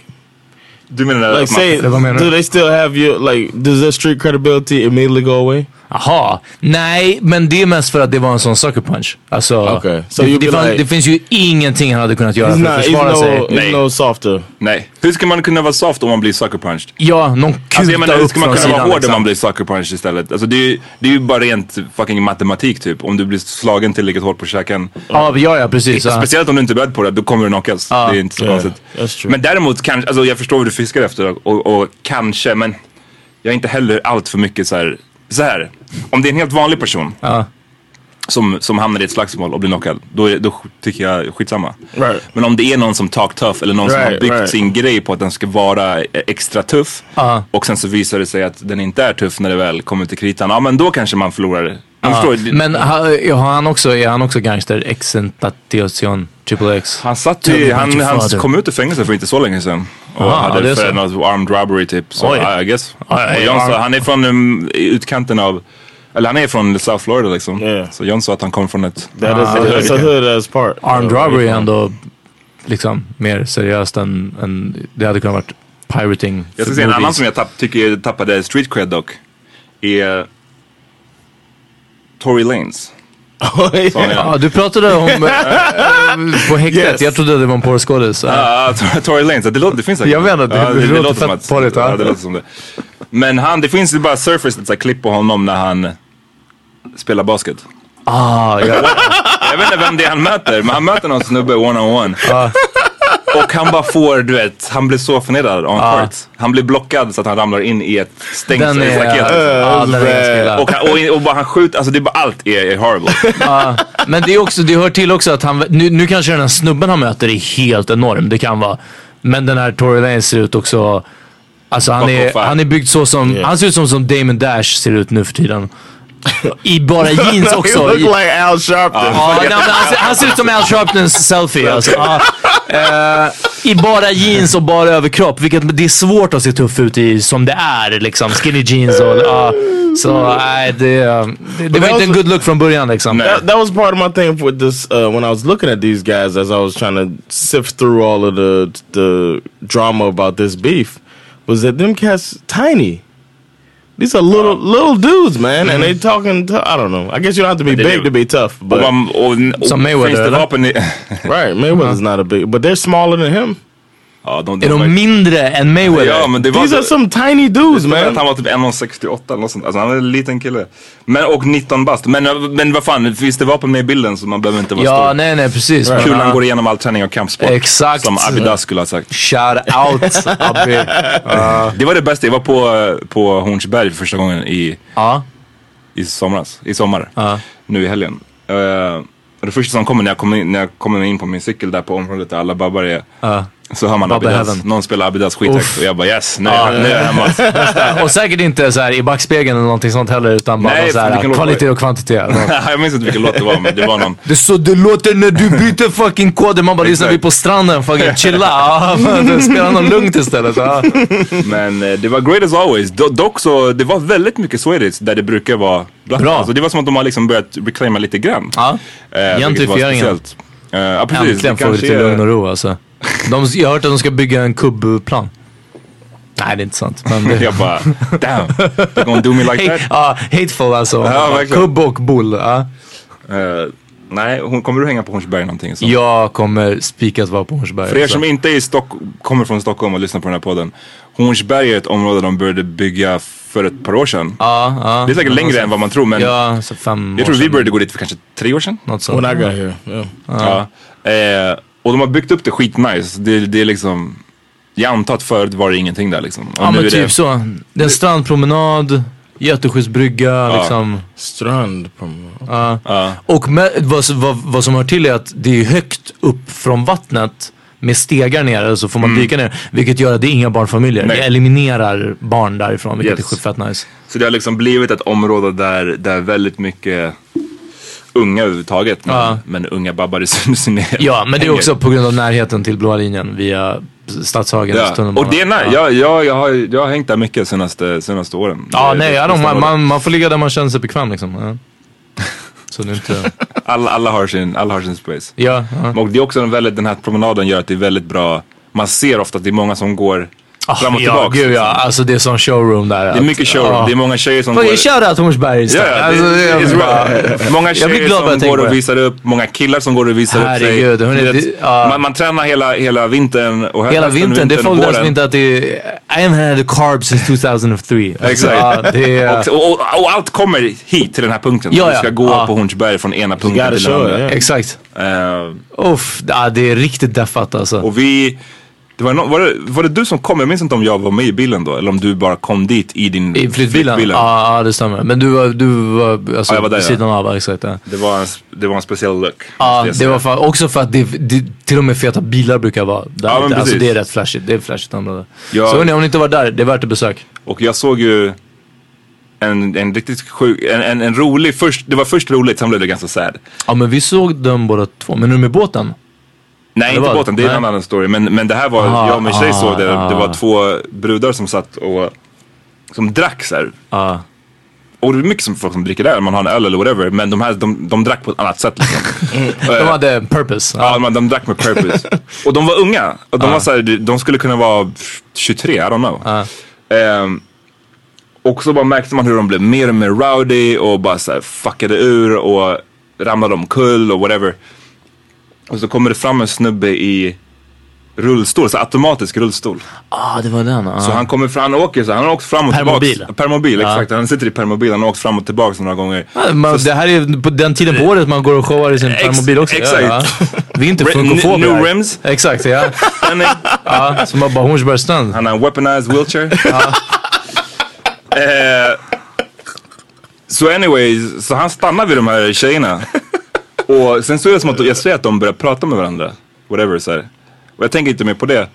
Speaker 1: Du menar
Speaker 2: like
Speaker 1: att man,
Speaker 2: say,
Speaker 4: Det var meningen.
Speaker 2: do they still have your like? Does their street credibility immediately go away?
Speaker 4: Aha, nej men det är mest för att det var en sån sucker punch. Alltså,
Speaker 2: Okej, so
Speaker 4: det,
Speaker 2: you'd
Speaker 4: det,
Speaker 2: be
Speaker 4: fanns,
Speaker 2: like-
Speaker 4: det finns ju ingenting han hade kunnat göra
Speaker 2: It's
Speaker 4: för
Speaker 2: not.
Speaker 4: att
Speaker 2: It's
Speaker 4: försvara
Speaker 2: no.
Speaker 4: sig.
Speaker 2: It's no softer.
Speaker 1: nej. Hur ska man kunna vara soft om man blir sucker punched?
Speaker 4: Ja, någon
Speaker 1: Alltså jag
Speaker 4: kuta
Speaker 1: menar, hur
Speaker 4: upp
Speaker 1: ska man
Speaker 4: från
Speaker 1: kunna vara
Speaker 4: sidan.
Speaker 1: hård om man
Speaker 4: liksom.
Speaker 1: blir sucker punch istället? Alltså det är, ju, det är ju bara rent fucking matematik typ. Om du blir slagen tillräckligt hårt på käken.
Speaker 4: Ja, ja, ja precis. Ja.
Speaker 1: Alltså, Speciellt om du inte är beredd på det, då kommer du knockas. det är inte så
Speaker 2: Yeah,
Speaker 1: konstigt.
Speaker 2: that's true.
Speaker 1: Men däremot, kanske, alltså jag förstår vad du fiskar efter och, och kanske, men jag är inte heller allt för mycket så här. Så här om det är en helt vanlig person som, som hamnar i ett slagsmål och blir knockad, då, är, då tycker jag skitsamma.
Speaker 2: Right.
Speaker 1: Men om det är någon som talk tough eller någon som har
Speaker 2: Right,
Speaker 1: byggt
Speaker 2: right.
Speaker 1: sin grej på att den ska vara eh, extra tuff och sen så visar det sig att den inte är tuff när det väl kommer till kritan, ja men då kanske man förlorar. Man förstår, det-
Speaker 4: Men ha, ja, har han också, är han också gangster? Exentation, triple X.
Speaker 1: Han satt
Speaker 4: Tell
Speaker 1: ju,
Speaker 4: me about
Speaker 1: han,
Speaker 4: your
Speaker 1: han
Speaker 4: father.
Speaker 1: kom ut ur fängelse för inte så länge sedan. Och
Speaker 4: Aha, ja, det
Speaker 1: hade
Speaker 4: är
Speaker 1: för
Speaker 4: så.
Speaker 1: något armed robbery typ. Så
Speaker 4: Oj.
Speaker 1: I guess.
Speaker 4: Ja, ja,
Speaker 1: och John
Speaker 4: ja.
Speaker 1: sa, han är från um, utkanten av, eller han är från South Florida liksom.
Speaker 2: Yeah.
Speaker 1: Så John sa att han kom från ett...
Speaker 2: That is that's a hood as part.
Speaker 4: Armed
Speaker 2: So,
Speaker 4: robbery är
Speaker 2: yeah.
Speaker 4: ändå liksom mer seriöst än, än det hade kunnat varit pirating.
Speaker 1: Jag ska säga en annan som jag tapp, tycker tappade street cred dock. Är Tory Lanez. Som är-
Speaker 4: Ja, du pratade om eh, på häktet.
Speaker 2: Yes.
Speaker 4: Jag trodde det var en porrskådis.
Speaker 1: Ja, ja, Ah, Tory Lanez. Det, låter, det finns säkert.
Speaker 4: Jag vet inte, det-
Speaker 1: Ja,
Speaker 4: det låter
Speaker 1: som
Speaker 4: fett
Speaker 1: att-
Speaker 4: farligt, va?
Speaker 1: Ja, det låter som det. Men han, det finns ju bara surface, ett så här klipp på honom när han spelar basket.
Speaker 4: Ah, ja.
Speaker 1: Jag vet inte vem det är han möter, men han möter någon snubbe one-on-one.
Speaker 4: Ah.
Speaker 1: Och han bara får, du vet, han blir så förnedrad on
Speaker 4: Ja.
Speaker 1: court. Han blir blockad så att han ramlar in i ett
Speaker 4: Ah. Den
Speaker 1: stängsel,
Speaker 4: är...
Speaker 1: ett staket.
Speaker 4: ja, den är ganska illa.
Speaker 1: Och, han, och, och bara han skjuter, alltså det är bara allt är, är horrible.
Speaker 4: Men det, är också, det hör till också att han, nu, nu kanske den här snubben han möter är helt enorm, det kan vara. Men den här Tory Lanez ser ut också, alltså han
Speaker 1: Fuck
Speaker 4: är,
Speaker 1: off, fan.
Speaker 4: han är byggd så som, han ser ut som, som Damon Dash ser ut nu för tiden. I bara jeans
Speaker 2: He
Speaker 4: också.
Speaker 2: look
Speaker 4: I,
Speaker 2: like Al Sharpton.
Speaker 4: Ja,
Speaker 1: Uh,
Speaker 4: nej, men han, ser, han ser ut som Al Sharptons selfie alltså. Ja. Eh, I bara jeans och bara överkropp, vilket det är svårt att se tuff ut i som det är liksom. Skinny jeans och, ja. så nej, det, det, det var inte en good look från början liksom.
Speaker 2: That, that was part of my thing with this uh, when I was looking at these guys as I was trying to sift through all of the the drama about this beef was that them cats tiny. These are little little dudes, man, and they talking. T I don't know. I guess you don't have to be
Speaker 1: They
Speaker 2: big
Speaker 1: do.
Speaker 2: to be tough,
Speaker 1: Och,
Speaker 2: but
Speaker 1: man, och, och
Speaker 4: Som Mayweather,
Speaker 1: Oh, finns det
Speaker 4: eller?
Speaker 1: vapen i...
Speaker 2: right, Mayweather's not a big, but they're smaller than him.
Speaker 1: Ja, de, de,
Speaker 4: Är de mindre än Mayweather?
Speaker 1: ja, men det var...
Speaker 2: These are some tiny dudes,
Speaker 1: Jag tror att
Speaker 2: man.
Speaker 1: han var typ 1,68 eller något sånt. Alltså han är en liten kille. Men, och 19 bast. Men, men vad fan, finns det vapen med i bilden så man behöver inte vara
Speaker 4: Ja,
Speaker 1: stor.
Speaker 4: nej, nej, precis. Men,
Speaker 1: Kulan
Speaker 4: ja.
Speaker 1: går igenom all träning och kampsport.
Speaker 4: Exakt.
Speaker 1: Som Abidas skulle ha sagt.
Speaker 4: Shout out, Abbe.
Speaker 1: Det var det bästa. Jag var på, eh, på Hornsberg första gången i,
Speaker 4: Ja.
Speaker 1: i somras. I sommar.
Speaker 4: Ja.
Speaker 1: Nu i helgen. Eh, och det första som kommer när jag kommer in, när jag kommer in på min cykel där på området där alla babbar är. Så hör man
Speaker 4: Abba
Speaker 1: Abidaz.
Speaker 4: Heaven.
Speaker 1: Någon spelar Abidaz skithögt
Speaker 4: Uff.
Speaker 1: och jag bara yes, nu,
Speaker 4: Ja.
Speaker 1: nu är jag hemma.
Speaker 4: och säkert inte så här i backspegeln eller någonting sånt heller utan bara
Speaker 1: Nej,
Speaker 4: någon så här,
Speaker 1: vilken låt var det?
Speaker 4: kvalitet och kvantitet.
Speaker 1: jag minns inte vilken låt det var men det var någon.
Speaker 4: Det är så det låter när du byter fucking koder. Man bara lyssnar vi på stranden, fucking chilla. Ja, men Spela något lugnt istället. Ja.
Speaker 1: Men eh, det var great as always. Do, dock så, det var väldigt mycket Swedish där det brukar vara black. Bra. Alltså, det var som att de har liksom börjat reclaima lite grann. Eh, Ja,
Speaker 4: Gentrifieringen.
Speaker 1: Uh, ja, precis.
Speaker 4: Äntligen
Speaker 1: Det
Speaker 4: får vi
Speaker 1: kanske
Speaker 4: lite
Speaker 1: är-
Speaker 4: lugn och ro alltså. De, jag har hört att de ska bygga en kubbplan. Nej, det är inte sant. Men det...
Speaker 1: Jag bara, damn, they're gonna do me like that.
Speaker 4: Ja, hateful alltså.
Speaker 1: Ja, verkligen.
Speaker 4: Kubb och bull. ja.
Speaker 1: Eh, nej, hon, kommer du hänga på Hornsberg någonting? Så?
Speaker 4: Jag kommer spikat vara på Hornsberg.
Speaker 1: För er
Speaker 4: alltså.
Speaker 1: som inte är i Stock kommer från Stockholm och lyssnar på den här podden. Hornsberg är ett område de började bygga för ett par år sedan. det är säkert längre än vad man tror men
Speaker 4: Ja, så fem
Speaker 1: jag tror
Speaker 4: år
Speaker 1: vi
Speaker 4: sedan.
Speaker 1: började gå dit för kanske tre år sedan.
Speaker 4: Något sånt. When I got here, yeah.
Speaker 1: Ja. Eh, och de har byggt upp det skitnice. Det, det är liksom, jag antar att förut var det ingenting där liksom. Och
Speaker 4: Ja
Speaker 1: nu
Speaker 4: men
Speaker 1: är
Speaker 4: typ
Speaker 1: det,
Speaker 4: så. Det är en strandpromenad, Göteborgsbrygga
Speaker 1: Ja.
Speaker 4: liksom.
Speaker 2: Strandpromenad.
Speaker 4: Ja. Och med, vad, s- vad, vad som hör till är att det är högt upp från vattnet med stegar ner så får man dyka ner. Vilket gör att det är inga barnfamiljer.
Speaker 1: Mm. Nej.
Speaker 4: Det eliminerar barn därifrån vilket
Speaker 1: Yes.
Speaker 4: är fett nice.
Speaker 1: Så det har liksom blivit ett område där, där väldigt mycket unga överhuvudtaget. Men,
Speaker 4: Ja.
Speaker 1: men unga babbar i synnerhet.
Speaker 4: Ja men det är
Speaker 1: hänger.
Speaker 4: också på grund av närheten till blåa linjen via Stadshagen.
Speaker 1: Ja. Och det är nice. Jag, jag, jag, har, jag har hängt där mycket senaste, senaste åren.
Speaker 4: Ja,
Speaker 1: Det-
Speaker 4: nej,
Speaker 1: det-
Speaker 4: ja, de,
Speaker 1: nästan
Speaker 4: man,
Speaker 1: året.
Speaker 4: man, man får ligga där man känner sig bekväm liksom. Ja. Så det är inte...
Speaker 1: alla, alla, har sin, alla har sin space.
Speaker 4: Ja,
Speaker 1: Och det är också en väldigt, den här promenaden gör att det är väldigt bra. Man ser ofta att det är många som går fram
Speaker 4: Ah,
Speaker 1: och
Speaker 4: ja,
Speaker 1: tillbaka.
Speaker 4: Gud, ja, alltså det är sån showroom där. Ah.
Speaker 1: Det är mycket showroom. Det är många tjejer som går...
Speaker 4: Fucking shoutout Hornsberg
Speaker 1: Ja,
Speaker 4: istället.
Speaker 1: ja,
Speaker 4: Alltså,
Speaker 1: det,
Speaker 4: jag
Speaker 1: it's
Speaker 4: bara-
Speaker 1: right. Många
Speaker 4: jag blir
Speaker 1: tjejer
Speaker 4: glad bara jag
Speaker 1: som
Speaker 4: tänker
Speaker 1: går
Speaker 4: på
Speaker 1: och
Speaker 4: det.
Speaker 1: visar upp, många killar som går och visar upp
Speaker 4: Herregud,
Speaker 1: sig.
Speaker 4: hörni,
Speaker 1: Du vet,
Speaker 4: det- ja.
Speaker 1: man, man tränar hela, hela vintern och hö-
Speaker 4: Hela
Speaker 1: hösten,
Speaker 4: vintern, det är folk
Speaker 1: och
Speaker 4: där som
Speaker 1: våren.
Speaker 4: inte att det I haven't had a carb since 2003. Alltså, ja,
Speaker 1: Exakt.
Speaker 4: det är,
Speaker 1: och, och, och allt kommer hit till den här punkten.
Speaker 4: Ja,
Speaker 1: Vi
Speaker 4: ja.
Speaker 1: ska gå
Speaker 4: Ja.
Speaker 1: på Hornsberg från ena punkten
Speaker 4: gotta
Speaker 1: till den
Speaker 4: show it,
Speaker 1: andra.
Speaker 4: yeah. Exakt.
Speaker 1: Eh,
Speaker 4: Uff, ja, det är riktigt deffat alltså.
Speaker 1: och vi... Det var, nå- var, det, var det du som kom? Jag minns inte om jag var med i bilen då eller om du bara kom dit i din
Speaker 4: I flyttbilen? Ja, ja, det stämmer. Men du var, du var alltså,
Speaker 1: Ja, jag var där,
Speaker 4: vid
Speaker 1: ja.
Speaker 4: sidan av, exakt. Ja.
Speaker 1: Det var en, s- det var en speciell look.
Speaker 4: Ja,
Speaker 1: måste jag
Speaker 4: det
Speaker 1: säga.
Speaker 4: var fan, också för att det, det, till och med feta bilar brukar vara där.
Speaker 1: Ja, men
Speaker 4: ute. alltså
Speaker 1: precis.
Speaker 4: det är rätt flashigt. Det är flashigt område.
Speaker 1: Ja.
Speaker 4: Så hörni, om ni inte var där, det är värt ett besök.
Speaker 1: Och jag såg ju en, en riktigt sjuk, en, en, en rolig, först, det var först roligt, sen blev det ganska sad.
Speaker 4: Ja, men vi såg dem båda två. Men nu med båten?
Speaker 1: Nej,
Speaker 4: Det
Speaker 1: inte
Speaker 4: var-
Speaker 1: båten, det är en
Speaker 4: nej.
Speaker 1: annan story. Men, men det här var,
Speaker 4: Ah,
Speaker 1: jag och min tjej
Speaker 4: ah,
Speaker 1: såg det, det var
Speaker 4: ah.
Speaker 1: två brudar som satt och, som drack så här. Och det är mycket som folk som dricker där, man har en öl eller whatever. Men de här, de, de drack på ett annat sätt liksom.
Speaker 4: De hade purpose.
Speaker 1: Ja, de, de drack med purpose. och de var unga. Och de,
Speaker 4: Ja.
Speaker 1: var så här, de- de skulle kunna vara 23, I don't know. Ehm, och så bara märkte man hur de blev mer och mer rowdy och bara så här fuckade ur och ramlade omkull och whatever. Och så kommer det fram en snubbe i rullstol, så här automatisk rullstol.
Speaker 4: Ah, det var den. ah.
Speaker 1: Så han kommer fram, han åker så här, han har åkt fram och
Speaker 4: Permobil.
Speaker 1: tillbaks. Permobil.
Speaker 4: Ja.
Speaker 1: exakt. Han sitter i permobil, han har åkt fram och tillbaks några gånger.
Speaker 4: Ja, man,
Speaker 1: Så-
Speaker 4: det här är ju på den tiden på året man går och showar i sin
Speaker 1: Ex-
Speaker 4: permobil också.
Speaker 1: exakt.
Speaker 4: Ja, ja. Vi är inte
Speaker 1: Re-
Speaker 4: funkofober.
Speaker 1: new
Speaker 4: här.
Speaker 1: rims.
Speaker 4: Exakt, ja. ja som har bara Hornsbergs strand.
Speaker 1: Han har en weaponized wheelchair. eh, så anyways, så han stannar vid de här tjejerna. Och sen så är det som att jag ser att de börjar prata med varandra. Whatever så här. Och jag tänker inte mer på det.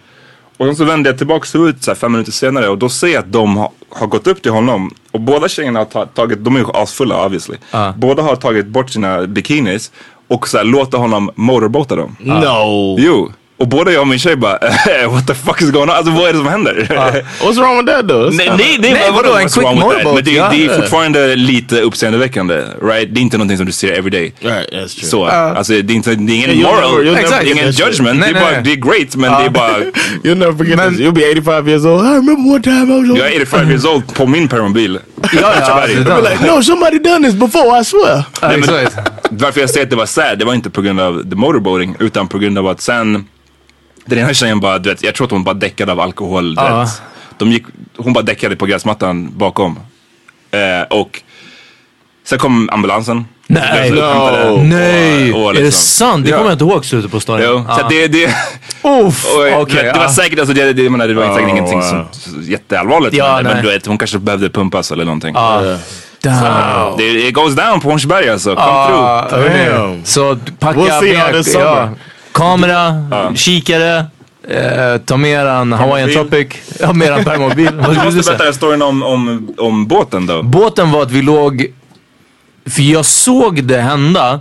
Speaker 1: Och sen så vänder jag tillbaks ut så här fem minuter senare och då ser jag att de har, har gått upp till honom. Och båda tjejerna har ta- tagit, de är ju asfulla obviously. Båda har tagit bort sina bikinis och så här låter honom motorbota dem.
Speaker 2: No.
Speaker 1: Jo. Och både jag och min tjej bara, what the fuck is going on? Alltså vad är det som händer?
Speaker 2: What's wrong with that though? It's
Speaker 1: Nej,
Speaker 2: not-
Speaker 1: nej, nej, men vadå, en quick motorboat. Men det,
Speaker 2: ja.
Speaker 1: det är fortfarande lite uppseendeväckande, right? Det är inte någonting som du ser every day.
Speaker 2: Right, that's true.
Speaker 1: Så, alltså det är, inte, det är
Speaker 2: Yeah,
Speaker 1: ingen
Speaker 2: you'll
Speaker 1: moral,
Speaker 2: never- you'll
Speaker 1: det är
Speaker 2: never
Speaker 1: ingen
Speaker 2: forget that shit.
Speaker 1: judgment.
Speaker 2: Nej,
Speaker 1: det,
Speaker 2: nej,
Speaker 1: är
Speaker 2: nej.
Speaker 1: bara, det är great, men det är bara,
Speaker 2: You'll never forget this. You'll be 85 years old. I remember one time I was on.
Speaker 1: jag är 85 years old på min permobil. Tyvärr.
Speaker 2: I'll be like, no, somebody done this before. I swear.
Speaker 1: Nej, men, varför jag säger att det var sad, det var inte på grund av the motorboating, utan på grund av att sen, den ena tjejen bara, du vet, jag tror att hon bara däckade av alkohol. du
Speaker 4: Ja.
Speaker 1: vet. De gick, hon bara däckade på gräsmattan bakom. Eh, och sen kom ambulansen.
Speaker 4: Nej.
Speaker 1: Så hämtade- och-
Speaker 4: Nej.
Speaker 1: och
Speaker 4: Är
Speaker 1: liksom-
Speaker 4: det sant? Det
Speaker 1: Ja.
Speaker 4: kommer jag inte ihåg slutet på storyn.
Speaker 1: Jo, så
Speaker 4: Ah.
Speaker 1: att det, det,
Speaker 4: Uff,
Speaker 1: och, du
Speaker 4: okej,
Speaker 1: vet, det var
Speaker 4: ja.
Speaker 1: säkert, alltså, det, det, jag menar, det var
Speaker 4: Ja,
Speaker 1: säkert ingenting som
Speaker 4: wow.
Speaker 1: jätteallvarligt.
Speaker 4: Ja,
Speaker 1: men, men
Speaker 4: nej.
Speaker 1: du vet, hon kanske behövde pumpas eller någonting.
Speaker 4: Ah.
Speaker 1: Så, det, it goes down på Hornsberg alltså, come
Speaker 4: Ah,
Speaker 1: through.
Speaker 4: hörni. Så packa
Speaker 2: We'll see how
Speaker 4: med-
Speaker 2: this
Speaker 4: ja.
Speaker 2: summer.
Speaker 4: kamera, kikare, Eh, ta med eran Hawaiian
Speaker 1: Permobil.
Speaker 4: Tropic. Ja, med eran permobil. Vad
Speaker 1: Du
Speaker 4: skulle du
Speaker 1: måste
Speaker 4: säga?
Speaker 1: berätta storyn om, om, om båten då.
Speaker 4: Båten var att vi låg... För jag såg det hända.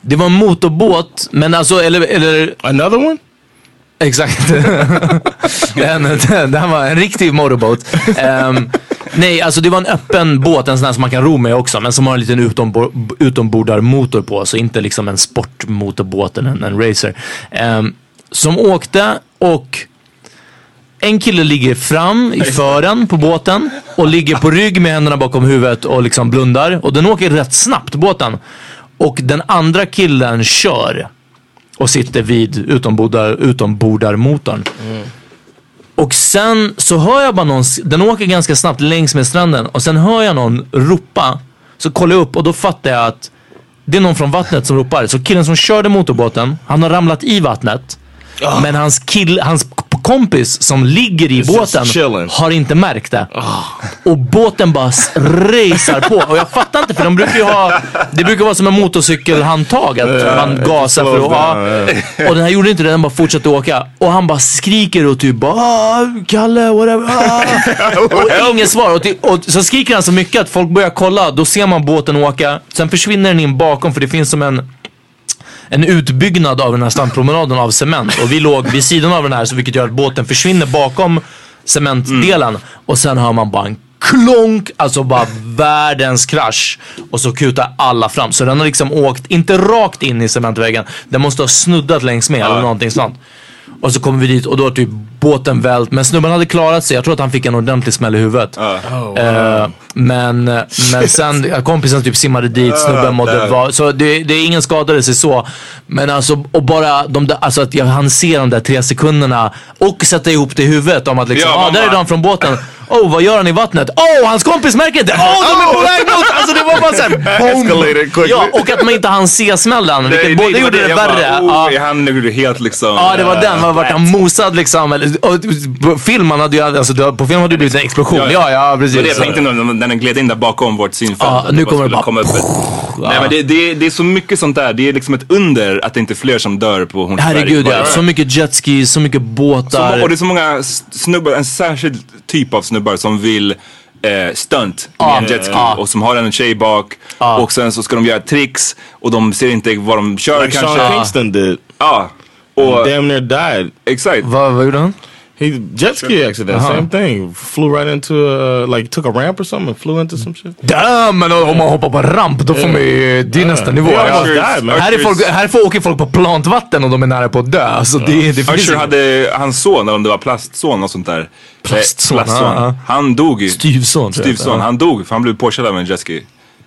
Speaker 4: Det var en motorbåt, men alltså, eller... eller
Speaker 2: Another one?
Speaker 4: Exakt. den, den, den var en riktig motorbåt. Ehm, nej, alltså det var en öppen båt, en sån här som man kan ro med också, men som har en liten utombor- utombordarmotor på, så inte liksom en sportmotorbåt eller en, en racer. Ehm, som åkte och en kille ligger fram i fören på båten och ligger på rygg med händerna bakom huvudet och liksom blundar. Och den åker rätt snabbt, båten. Och den andra killen kör och sitter vid utombordar, utombordarmotorn. Och sen så hör jag bara någon, den åker ganska snabbt längs med stranden och sen hör jag någon ropa. Så kollar jag upp och då fattar jag att det är någon från vattnet som ropar. Så killen som körde motorbåten, han har ramlat i vattnet. Men hans, kill, hans k- kompis som ligger i båten har inte märkt det. Och båten bara s- racear på. Och jag fattar inte för de brukar ju ha, det brukar vara som en motorcykelhandtag. Att man gasar för att... ja. Och den här gjorde inte det, den bara fortsatte åka. Och han bara skriker och typ bara "Ah, Kalle, whatever. Ah. Och inget svar. Och, ty- och så skriker han så mycket att folk börjar kolla. Då ser man båten åka. Sen försvinner den in bakom för det finns som en en utbyggnad av den här strandpromenaden av cement. Och vi låg vid sidan av den här, så vilket gör att båten försvinner bakom cementdelen. Och sen hör man bara en klonk, alltså bara världens krasch. Och så kutar alla fram. Så den har liksom åkt, inte rakt in i cementväggen, den måste ha snuddat längs med eller någonting sånt. Och så kommer vi dit och då har typ båten vält. Men snubben hade klarat sig. Jag tror att han fick en ordentlig smäll i huvudet. Eh, men, men sen ja, kompisen typ simmade dit. Snubben mådde
Speaker 6: där.
Speaker 4: vara. Så det, det är ingen skadade sig så. Men alltså, och bara de där, alltså att jag hann se de där tre sekunderna och sätta ihop det i huvudet om att liksom,
Speaker 6: Ja,
Speaker 4: ah,
Speaker 6: mamma.
Speaker 4: där är de från båten. Oh, vad gör han i vattnet? Oh, hans kompis märker inte! Oh, de är på väg mot! Alltså det var bara såhär, boom!
Speaker 1: Escalated quickly.
Speaker 4: Ja, och att man inte hann se smällen, vilket både gjorde det, värre.
Speaker 1: Bara, oh, Han gjorde helt liksom... eh,
Speaker 4: Ja, det var den. Man vart han mosad liksom. Eller- och På film han hade ju, alltså, det var- på film hade det blivit en explosion. Ja, ja, precis.
Speaker 1: Det var det jag tänkte nog, när den gled in där bakom vårt synfält.
Speaker 4: Ja,
Speaker 1: att
Speaker 4: nu
Speaker 1: bara
Speaker 4: kommer det
Speaker 1: skulle
Speaker 4: bara-
Speaker 1: komma upp ett- Nej, men det, det, det är så mycket sånt där. Det är liksom ett under att det inte är fler som dör på Hornsberg.
Speaker 4: Herregud
Speaker 1: Bara-
Speaker 4: ja. Så mycket jetskis, så mycket båtar.
Speaker 1: Så, och det är så många s- snubbar, en särskild typ av snubbar som vill eh, stunt med
Speaker 4: Ja.
Speaker 1: en jetski
Speaker 4: Ja.
Speaker 1: och som har en tjej bak och sen så ska de göra tricks och de ser inte vad de kör
Speaker 2: Like
Speaker 1: kanske.
Speaker 2: Sean Kingston did.
Speaker 1: Ja.
Speaker 2: Och, damn near died.
Speaker 1: Exakt.
Speaker 4: Vad vad gjorde han?
Speaker 2: He jet ski accident,
Speaker 4: Aha.
Speaker 2: same thing. Flew right into a, uh, like took a ramp or something and flew into some shit.
Speaker 4: Damn, men om man hoppar på ramp då får man ju, det är
Speaker 2: Ja.
Speaker 4: nästa nivå.
Speaker 2: Ja, Ushers-
Speaker 4: Ja. Här, är folk,
Speaker 2: Ushers-
Speaker 4: här får, åker folk på plant vatten och de är nära på att dö. Alltså, det, det finns
Speaker 1: Usher
Speaker 4: inget.
Speaker 1: hade hans son, eller om det var plastson och sånt där. Eh,
Speaker 4: Plastson, ja, ja.
Speaker 1: Han dog ju.
Speaker 4: Styvson, tror jag.
Speaker 1: Styvson,
Speaker 4: Ja.
Speaker 1: han dog för han blev påkörd av en jetski.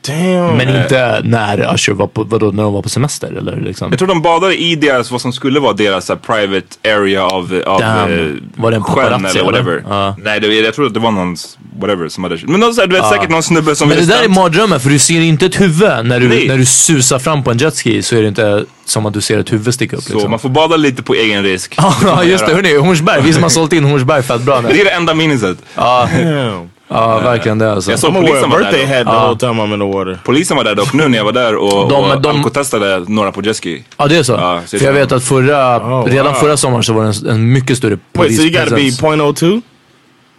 Speaker 2: Damn.
Speaker 4: Men
Speaker 1: Eh,
Speaker 4: inte när Usher var på, vadå, när de var på semester eller liksom?
Speaker 1: Jag tror de badade i deras, vad som skulle vara deras så här, private area av, av
Speaker 4: Damn.
Speaker 1: eh,
Speaker 4: Var det en
Speaker 1: sjön
Speaker 4: paparazzi,
Speaker 1: eller
Speaker 4: eller?
Speaker 1: whatever. Nej, det, jag tror att det var någon, s- whatever som hade Men någon, så här, du vet
Speaker 4: Ja.
Speaker 1: säkert någon snubbe som
Speaker 4: Men det
Speaker 1: ville
Speaker 4: där är
Speaker 1: stunt.
Speaker 4: mardrömmen för du ser inte ett huvud när du,
Speaker 1: Nej.
Speaker 4: när du susar fram på en jetski så är det inte som att du ser ett huvud sticka upp.
Speaker 1: Så
Speaker 4: liksom.
Speaker 1: man får bada lite på egen risk. får
Speaker 4: Ja
Speaker 1: man
Speaker 4: just det,
Speaker 1: göra.
Speaker 4: hörni, Hornsberg. Vi som har sålt in Hornsberg fett bra nu.
Speaker 1: Det är det enda miniset.
Speaker 4: Ja, ja verkligen det alltså.
Speaker 1: Jag såg polisen var där dock.
Speaker 2: time I'm in the water.
Speaker 1: Polisen var där dock nu när jag var där och,
Speaker 4: De-
Speaker 1: och
Speaker 4: de-
Speaker 1: alkotestade några på jetski.
Speaker 4: Ja det är så?
Speaker 1: så
Speaker 4: För jag
Speaker 1: det-
Speaker 4: vet att förra,
Speaker 1: wow.
Speaker 4: redan förra sommaren så var det en, en mycket större
Speaker 2: Wait, so you
Speaker 4: polispresence.
Speaker 2: gotta be .02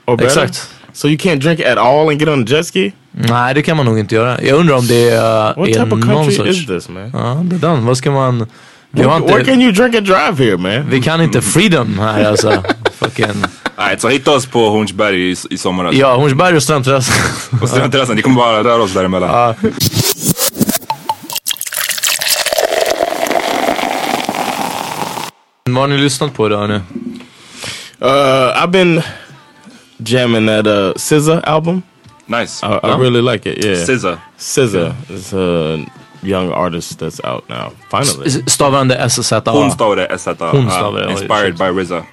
Speaker 2: or better?
Speaker 4: Exact.
Speaker 2: So you can't drink at all and get on a jet ski?
Speaker 4: Nej det kan man nog inte göra. Jag undrar om det är,
Speaker 2: What
Speaker 4: är
Speaker 2: type of
Speaker 4: någon
Speaker 2: country
Speaker 4: sorts...
Speaker 2: is this man?
Speaker 4: Ja, det är den. Vad ska man... Vi har
Speaker 2: Where, where
Speaker 4: inte...
Speaker 2: can you drink and drive here man?
Speaker 4: Vi kan inte freedom här alltså. Fucking...
Speaker 1: Nej, så hitta oss på Hornsberg i, i sommar. alltså.
Speaker 4: Ja, Hornsberg och Strandterrassen.
Speaker 1: Och Strandterrassen, det kommer bara röra oss däremellan.
Speaker 4: Vad har ni lyssnat på idag nu?
Speaker 2: Uh, I've been jamming that uh, SZA album.
Speaker 1: Nice.
Speaker 2: I, I
Speaker 1: Yeah.
Speaker 2: really like it. Yeah.
Speaker 1: SZA.
Speaker 2: SZA is a young artist that's out now. Finally.
Speaker 4: S- Stavar han det SZA?
Speaker 1: Hon stavade SZA.
Speaker 2: Hon stavade, ja,
Speaker 1: uh, Inspired by RZA.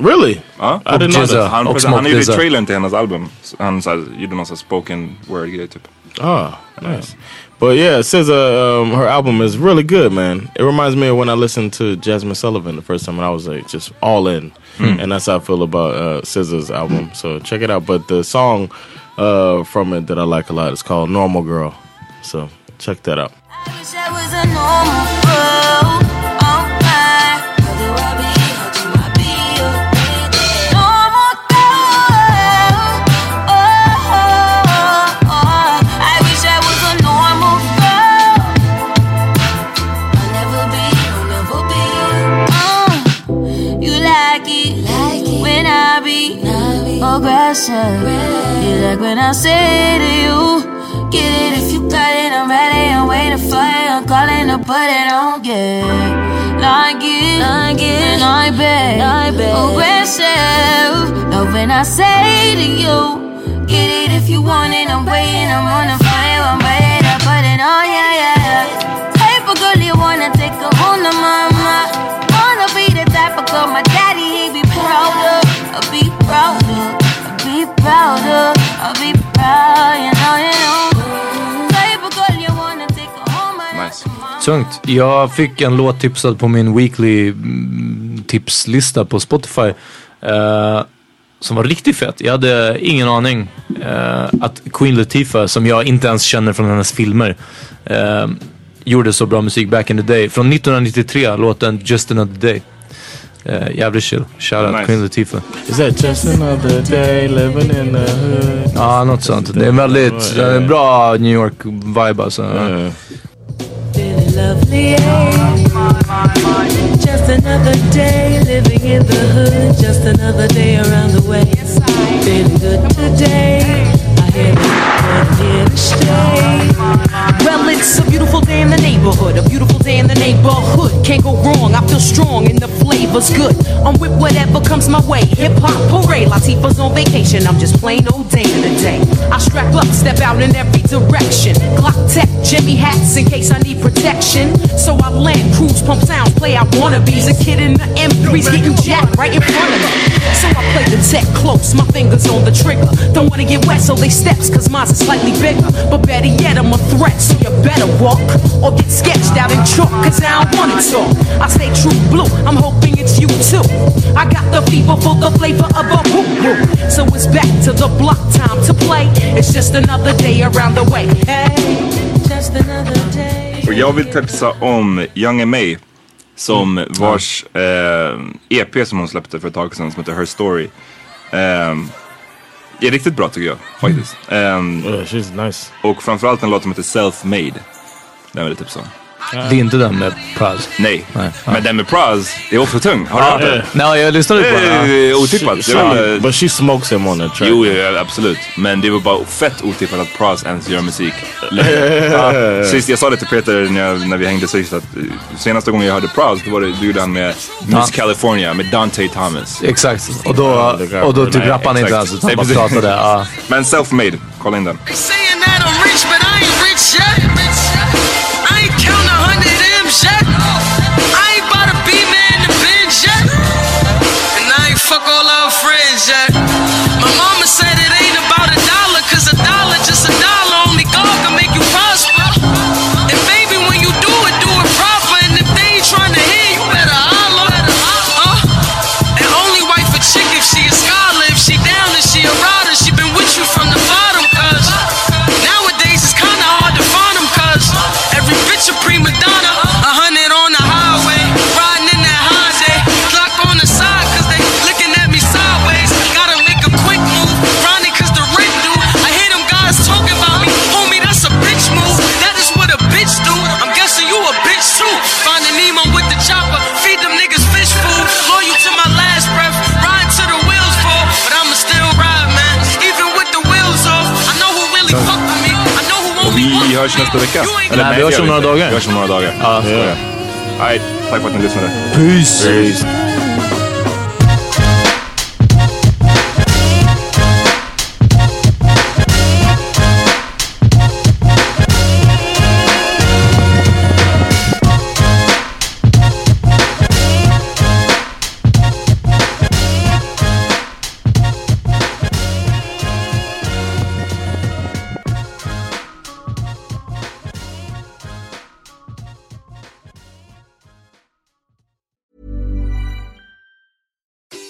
Speaker 2: Really?
Speaker 1: Ja.
Speaker 2: I didn't know that.
Speaker 1: Han,
Speaker 2: Och
Speaker 1: han
Speaker 2: Smoke
Speaker 1: gjorde
Speaker 2: Dizza.
Speaker 1: trailern till hennes album. Så Han så här, gjorde någon sån här spoken word grej typ.
Speaker 2: Oh, nice. But yeah, SZA, um, her album is really good, man. It reminds me of when I listened to Jasmine Sullivan the first time, and I was like just all in,
Speaker 1: Hmm.
Speaker 2: and that's how I feel about uh, SZA's album. So check it out. But the song uh, from it that I like a lot is called "Normal Girl," so check that out.
Speaker 3: I wish I was a normal girl. Oh, my. But there were
Speaker 7: Uh, it when I be aggressive. Oh, You like when I say to you, get it if you got it. I'm ready, I'm waiting for it. I'm calling to put it on. Get like it, like it, like bed, like bed. Aggressive. Love when I say to you, get it if you want it. I'm waiting, I'm on the fire, I'm ready to put it on. Yeah, yeah, yeah. Paper girl, you wanna take a hold of my mind. Wanna be the type of girl my daddy, he be proud of. I be proud of, I be proud of, I be proud, you know, you know. Paper girl, you wanna take a hold of my
Speaker 1: Nice.
Speaker 4: Tungt. Jag fick en låt tipsad på min weekly mm, tipslista på Spotify. eh, som var riktigt fet. Jag hade ingen aning eh, att Queen Latifah, som jag inte ens känner från hennes filmer, eh, gjorde så bra musik back in the day. Från 1993, låten Just Another Day. Eh, jävligt chill. Shoutout
Speaker 2: Nice.
Speaker 4: Queen Latifah.
Speaker 2: Is that just another day living in the hood?
Speaker 4: Ja, något sånt. Det är en väldigt det är en bra New York-vibe alltså.
Speaker 7: lovely age. Just another day living in the hood, just another day around the way. Feeling good today. I hear that I'm here to stay.
Speaker 8: Well, it's a beautiful day in the neighborhood, a beautiful day in the neighborhood. Can't go wrong, I feel strong and the flavor's good. I'm with whatever comes my way. Hip hop parade, Latifah's on vacation. I'm just plain old day in the day. I strap up, step out in every direction. Glock tech, Jimmy hats in case I need protection. So I land, cruise, pump sounds, play out wannabes. A kid in the M3's getting jacked right in front of me. So I play the tech close, my fingers on the trigger. Don't wanna get wet, so they steps, cause mine's is slightly bigger. But better yet, I'm a threat, so you better walk. Or get sketched out in chalk, cause I don't wanna talk. I stay true blue, I'm hoping it's you too. I got the fever for the flavor of a woo woo. So it's back to the block time to play. It's just another day around the way. Hey, just another day.
Speaker 1: Och jag vill tipsa om Young M.A. Som vars eh, EP som hon släppte för ett tag sedan som heter Her Story. ehm, är riktigt bra tycker jag faktiskt. Ehm, Och framförallt en låt som heter Self-Made. Den vill jag tipsa om.
Speaker 4: Det är inte den med Praz?
Speaker 1: Nej, men den med Praz är också tung. Har du hört den?
Speaker 4: Nej, jag lyssnade på den.
Speaker 1: Det är otippat. Det var,
Speaker 4: Shit.
Speaker 1: But she smokes him on the track. Jo, jo, ja, absolut. Men det var bara fett otippat att Praz ens gör musik. längre. ja, sist jag sa det till Peter när, jag, när vi hängde sist att eh, senaste gången jag hörde Praz, då var det, då gjorde han med
Speaker 4: Ja.
Speaker 1: Miss California med Dante Thomas.
Speaker 4: Exakt. Och då, och då typ rappade han inte ens utan bara pratade. Ja.
Speaker 1: Men self-made, kolla in den.
Speaker 7: Saying that I'm rich, but I ain't rich yet. I ain't count a hundred M's yet. I ain't bought a B-man to binge yet. And I ain't fuck all our friends yet. My mama said it ain't about a dollar, cause a dollar, just a dollar, only God can make you prosper. And baby, when you do it, do it proper. And if they ain't trying to hear you, better holler. Uh, and only wife a chick if she a scholar, if she down and she a rider, she been with you from the bottom, cuz. Nowadays it's kinda hard to find them, cuz. Every bitch a prima donna, a hundred on the highway, riding in that Hyundai. Clock on the side, cuz they looking at me sideways. Gotta make a quick move, grinding cuz the rent due. I hear them guys talking about me, homie, that's a bitch move. That is what a bitch do. I'm guessing you a bitch too. Finding Nemo with the chopper, feed them niggas fish food. Loyal to my last breath, ride till the wheels fall, but I'ma still ride, man. Even with the wheels off, I know who really fucked with me. I know who
Speaker 1: Och vi hörs nästa vecka.
Speaker 4: Nej, vi
Speaker 1: det
Speaker 4: hörs
Speaker 1: gör
Speaker 4: om några
Speaker 1: inte.
Speaker 4: dagar.
Speaker 1: Vi hörs om några dagar.
Speaker 4: Ja.
Speaker 1: Så är det. Nej, tack för att ni lyssnade.
Speaker 4: Peace.
Speaker 1: Peace.